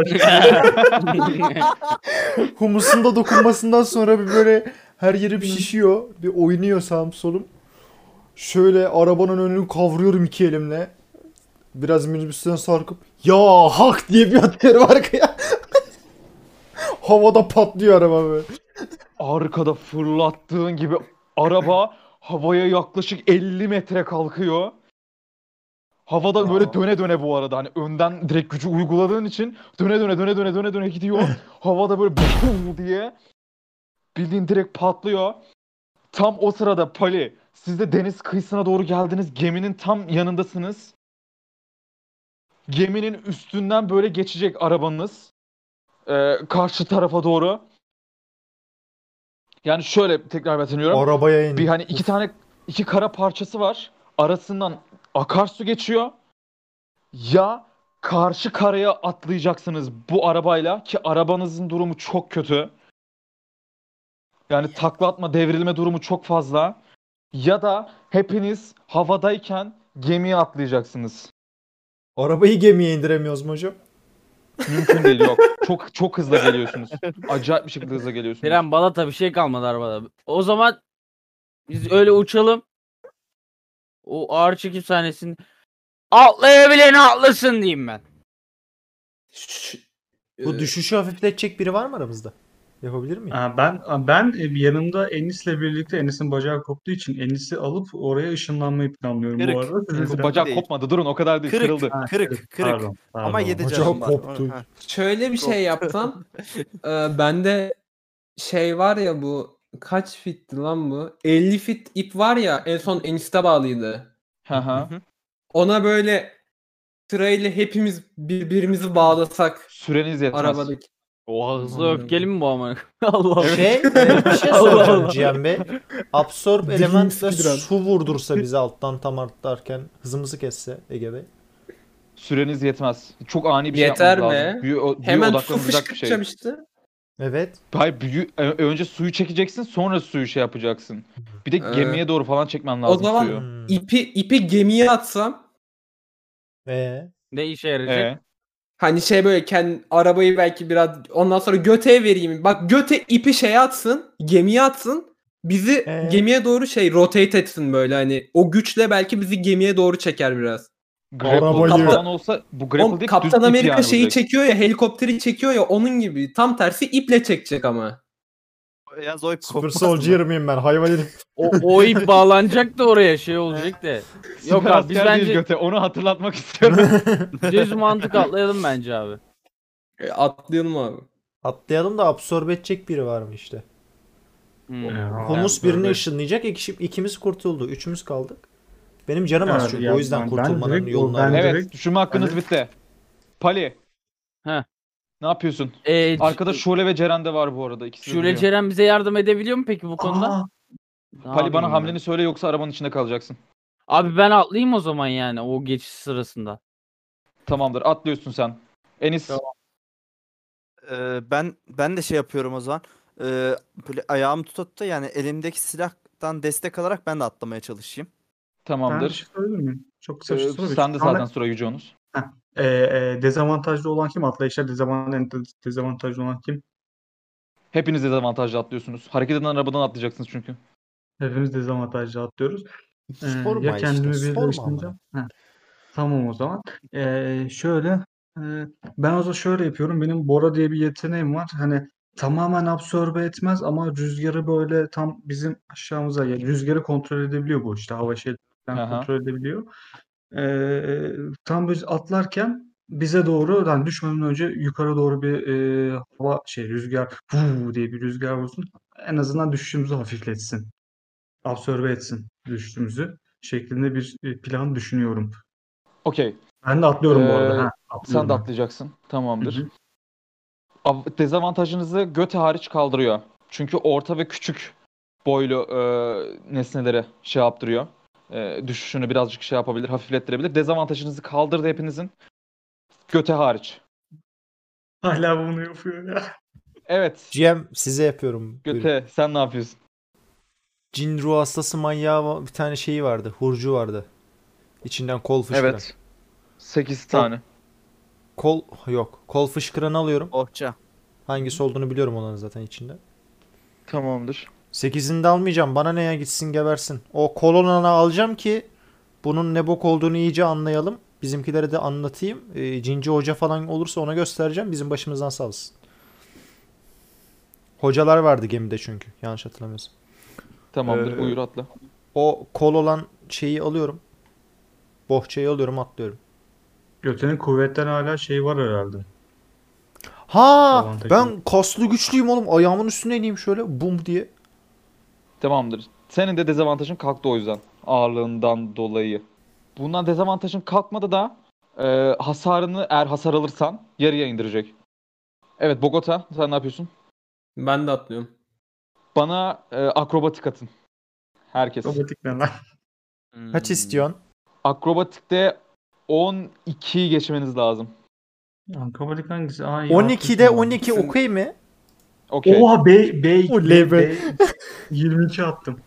D: Humusun da dokunmasından sonra bir böyle her yerim şişiyor. Bir oynuyor sağım solum. Şöyle arabanın önünü kavruyorum iki elimle. Biraz minibüsten sarkıp ya hak diye bir atıyorum arkaya. Havada patlıyor araba böyle.
E: Arkada fırlattığın gibi araba havaya yaklaşık 50 metre kalkıyor. Havada böyle döne döne bu arada hani önden direkt gücü uyguladığın için döne döne döne döne döne döne gidiyor. Havada böyle bum diye bildiğin direkt patlıyor. Tam o sırada Pali siz de deniz kıyısına doğru geldiniz. Geminin tam yanındasınız. Geminin üstünden böyle geçecek arabanız. Ee, karşı tarafa doğru. Yani şöyle tekrar betimliyorum.
D: Arabaya in.
E: Bir hani iki tane iki kara parçası var. Arasından akarsu geçiyor. Ya karşı karaya atlayacaksınız bu arabayla ki arabanızın durumu çok kötü. Yani taklatma devrilme durumu çok fazla. Ya da hepiniz havadayken gemiye atlayacaksınız.
D: Arabayı gemiye indiremiyoruz mu hocam?
E: Mümkün değil yok. Çok çok hızla geliyorsunuz. Acayip bir şekilde hızla geliyorsunuz.
G: Tren balata bir şey kalmadı arabada. O zaman biz öyle uçalım. O ağır çekim sahnesini atlayabilen atlasın diyeyim ben.
F: Ee,
D: Bu düşüşü hafifletecek biri var mı aramızda? Yapabilir miyim?
B: Aa, Ben ben e, yanımda Enis'le birlikte Enis'in bacağı koptuğu için Enis'i alıp oraya ışınlanmayı planlıyorum bu
C: Kırık.
B: arada. Sizin
C: Kırık.
B: biraz-
E: Bacak
C: Değil.
E: kopmadı durun o kadar değil
C: Kırık,
E: kırıldı.
B: Ha,
C: kırık, kırık.
B: Pardon,
C: Ama
B: pardon.
C: yedi
D: Bacağı
C: canım var.
D: koptu.
C: Ha.
F: Şöyle bir şey yapsam e, bende şey var ya bu kaç fitti lan bu? 50 fit ip var ya en son enişte bağlıydı.
E: Hı hı.
F: Ona böyle sırayla hepimiz birbirimizi bağlasak
E: Süreniz yetmez.
F: arabadaki.
G: Oha hızlı
F: Aman
G: öfkeli mi bu ama? Allah
D: Şey, e, bir şey soracağım Cihan Bey. Absorb
J: Bildiğin
D: elementle
J: speedrun.
D: su vurdursa bizi alttan tam artlarken hızımızı kesse Ege Bey.
E: Süreniz yetmez. Çok ani bir şey
F: Yeter
E: yapmanız
F: be.
E: lazım. Büyü, o- büyü
F: Hemen su
E: odaklanılacak bir şey.
F: fışkırtacağım işte.
D: Evet.
E: Hayır büyü, ö- önce suyu çekeceksin sonra suyu şey yapacaksın. Bir de
F: Ee,
E: gemiye doğru falan çekmen lazım
F: zaman-
E: suyu.
D: Hmm.
F: İpi, ipi gemiye atsam
D: Ee,
G: Ne işe yarayacak?
E: Ee,
F: Hani şey böyle kendi arabayı belki biraz ondan sonra göte vereyim. Bak göte ipi şeye atsın, gemiye atsın. Bizi
D: Ee?
F: gemiye doğru şey rotate etsin böyle hani o güçle belki bizi gemiye doğru çeker biraz.
E: grapple
D: Arabayı-
E: falan olsa bu grapple
F: On,
E: değil düz
F: Kaptan
E: ip
F: Amerika
E: yani
F: şeyi
E: olacak.
F: çekiyor ya helikopteri çekiyor ya onun gibi tam tersi iple çekecek ama.
C: Şey? Ya Zoip
D: Super
C: kopmaz
D: Soldier
C: mı?
D: miyim ben? Hayvan herif.
G: O, o ip bağlanacak da oraya şey olacak da.
E: Süper
G: Yok abi biz
E: asker değil
G: bence
E: göte onu hatırlatmak istiyorum.
G: düz mantık atlayalım bence abi.
F: E, atlayalım abi.
D: Atlayalım da absorbe edecek biri var mı işte?
G: Hmm.
B: Aa,
D: Humus
B: böyle-
D: birini ışınlayacak. İki, ikimiz kurtuldu. Üçümüz kaldık. Benim canım az
B: Evet,
D: çünkü.
B: ya
D: o yüzden
B: ben- ben
D: kurtulmanın
B: direkt-
D: yolunu
B: ben
D: arıyorum.
E: evet
B: direkt-
E: düşünme hakkınız
B: Hani-
E: bitti. Pali.
G: Heh.
E: Ne yapıyorsun?
G: Ee,
E: Arkada Şule ve Ceren de var bu arada. İkisi de
G: Şule
E: duruyor.
G: Ceren bize yardım edebiliyor mu peki bu konuda?
B: Aa,
G: Ne
E: Pali
G: yapayım
E: bana
G: ben?
E: hamleni söyle yoksa arabanın içinde kalacaksın.
G: Abi ben atlayayım o zaman yani o geçiş sırasında.
E: Tamamdır atlıyorsun sen. Enis
C: e, Ee, ben ben de şey yapıyorum o zaman. Ee, e, böyle ayağım tuta tuta yani elimdeki silahtan destek alarak ben de atlamaya çalışayım.
B: Ben bir
E: Tamamdır.
B: şey söyleyebilir miyim? Çok
E: Ee,
B: kısa bir şey sorabilir
E: sen de
B: miyim?
E: zaten sıra Yüce Onur.
B: Ee, e, dezavantajlı olan kim? Atlayışa dezavantajlı, dezavantajlı olan kim?
E: Hepiniz dezavantajlı atlıyorsunuz. Hareket eden arabadan atlayacaksınız çünkü.
B: Hepimiz dezavantajlı atlıyoruz. Ee,
D: Sorma
B: ya
D: işte,
B: kendimi bir
D: sorma
B: değiştireceğim. Heh. Tamam o zaman. Ee, şöyle e, ben o zaman şöyle yapıyorum. Benim Bora diye bir yeteneğim var. Hani tamamen absorbe etmez ama rüzgarı böyle tam bizim aşağımıza yani rüzgarı kontrol edebiliyor bu işte hava şeylerinden
E: Aha.
B: kontrol edebiliyor. Ee, tam biz atlarken bize doğru yani düşmeden önce yukarı doğru bir e, hava şey rüzgar "Vuu" diye bir rüzgar olsun. En azından düşüşümüzü hafifletsin absorbe etsin düştüğümüzü şeklinde bir e, plan düşünüyorum.
E: Okey.
B: Ben de atlıyorum bu arada.
E: Ee,
B: Ha,
E: Sen
B: atlıyorum
E: de
B: ben.
E: atlayacaksın. Tamamdır.
B: Hı hı.
E: Av- Dezavantajınızı göte hariç kaldırıyor. Çünkü orta ve küçük boylu e, nesnelere şey yaptırıyor. E, düşüşünü birazcık şey yapabilir, hafiflettirebilir. Dezavantajınızı kaldırdı hepinizin. Göte hariç.
B: Hala bunu yapıyor ya.
E: Evet.
D: GM size yapıyorum. Buyurun.
E: Göte sen ne yapıyorsun?
D: Cin ruh hastası manyağı va- bir tane şeyi vardı. Hurcu vardı. İçinden kol fışkıran.
E: Evet. 8 tane.
D: Kol yok. Kol fışkıranı alıyorum.
C: Ohça.
D: Hangisi olduğunu biliyorum onların zaten içinde.
E: Tamamdır.
D: Sekizini de almayacağım. Bana ne ya gitsin gebersin. O kolonanı alacağım ki bunun ne bok olduğunu iyice anlayalım. Bizimkilere de anlatayım. Ee, cinci hoca falan olursa ona göstereceğim. Bizim başımızdan sağ olsun. Hocalar vardı gemide çünkü. Yanlış hatırlamıyorsam.
E: Tamamdır.
B: e,
D: Ee,
E: Buyur atla.
D: O kol olan şeyi alıyorum. Bohçayı alıyorum atlıyorum.
B: Götenin kuvvetten hala şey var herhalde.
D: Ha
B: Avantajı.
D: ben kaslı güçlüyüm oğlum. Ayağımın üstüne ineyim şöyle bum diye.
E: Tamamdır. Senin de dezavantajın kalktı o yüzden. Ağırlığından dolayı. Bundan dezavantajın kalkmadı da e, hasarını eğer hasar alırsan yarıya indirecek. Evet Bogota sen ne yapıyorsun?
F: Ben de atlıyorum.
E: Bana e, akrobatik atın. Herkes.
B: Robotik ne lan?
D: Kaç istiyorsun?
E: Akrobatikte 12 geçmeniz lazım.
B: Lan Robotik hangisi? Aa, iyi,
D: 12'de
B: haklısın lan.
D: 12 okey mi?
E: Okey.
B: Oha bey bey.
D: O
B: bey,
D: level.
B: bey. 22 attım.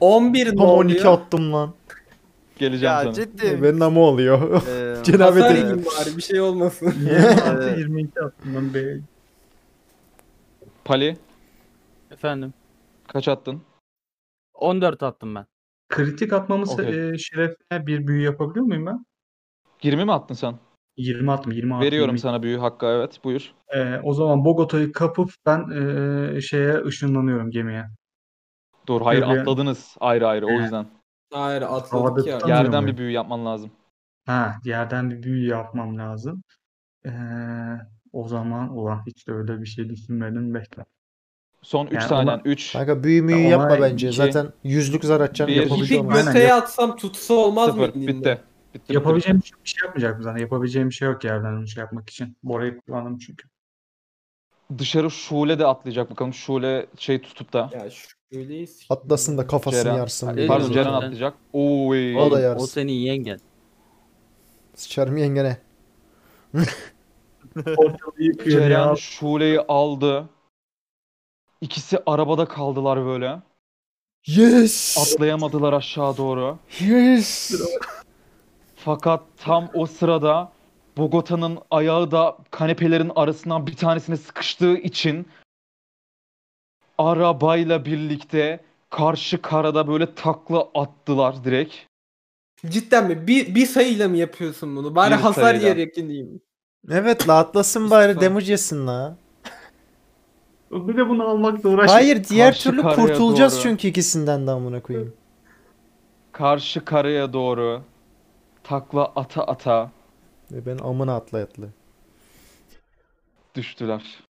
F: 11 ne
D: Tam 12
F: oluyor?
D: attım lan.
E: Geleceğim
C: Ya
E: sana.
C: ciddi.
D: Benim ama oluyor.
C: Ee,
D: Cenabet
F: Hasar
D: edeyim.
F: edeyim bari bir şey olmasın.
B: 26, 22 attım ben bey.
E: Pali
G: Efendim.
E: kaç attın?
G: 14 attım ben.
B: Kritik atmamı se-
E: Okey.
B: e, şerefine bir büyü yapabiliyor muyum ben?
E: 20 mi attın sen?
B: 20 attım. 20 attım.
E: Veriyorum
B: 22.
E: sana büyü hakkı evet buyur.
B: Ee, o zaman Bogota'yı kapıp ben e, şeye ışınlanıyorum gemiye.
E: Dur hayır
B: Tabii.
E: atladınız ayrı ayrı o yüzden.
F: Hayır atladık
B: Havada
F: ya.
B: tutamıyor.
E: Yerden
B: muyum?
E: bir büyü yapman lazım.
B: Ha, yerden bir büyü yapmam lazım. Ee, o zaman ulan hiç de öyle bir şey düşünmedim bekle.
E: Son 3
B: Yani
E: saniyen
B: ona-
E: 3.
D: Kanka büyü müyü
B: Ya
D: yapma
B: olay
D: bence.
E: iki,
D: Zaten yüzlük zar atacaksın.
E: bir.
D: yapabileceğim
F: İpi
D: ama.
B: Aynen.
F: göteye atsam tutsa olmaz mı?
E: Sıfır.
F: elinde?
E: Bitti. Bitti. bitti.
B: Yapabileceğim bir şey, bir şey yapmayacak mı zaten? Yapabileceğim bir şey yok yerden bir şey yapmak için. Bora'yı kullandım çünkü.
E: Dışarı Şule de atlayacak bakalım. Şule şey tutup da.
F: Ya şöyleyiz.
D: Atlasın da kafasını
E: Ceren-
D: yarsın.
G: Ay,
D: diye.
E: Pardon
G: Eyvallah.
E: Ceren atlayacak. Oy.
D: O da
G: O
D: yarsın.
G: senin yengen.
D: Sıçarım yengene.
B: Ortalığı yıkıyor ya.
E: Ceren Şule'yi aldı. İkisi arabada kaldılar böyle.
D: Yes!
E: Atlayamadılar aşağı doğru.
D: Yes!
E: Fakat tam o sırada Bogota'nın ayağı da kanepelerin arasından bir tanesine sıkıştığı için arabayla birlikte karşı karada böyle takla attılar direkt.
F: Cidden mi? Bir, bir sayıyla mı yapıyorsun bunu? Bari
E: Bir
F: hasar
E: sayıyla.
F: yiyerek ineyim.
D: Evet la atlasın bari damage yesin la.
B: Bir de bunu almakla uğraş.
D: Hayır diğer
E: karşı
D: türlü
E: karaya
D: kurtulacağız
E: doğru.
D: çünkü ikisinden de amına koyayım.
E: karşı karaya doğru takla ata ata
D: E Ve ben amına atla atla.
E: düştüler.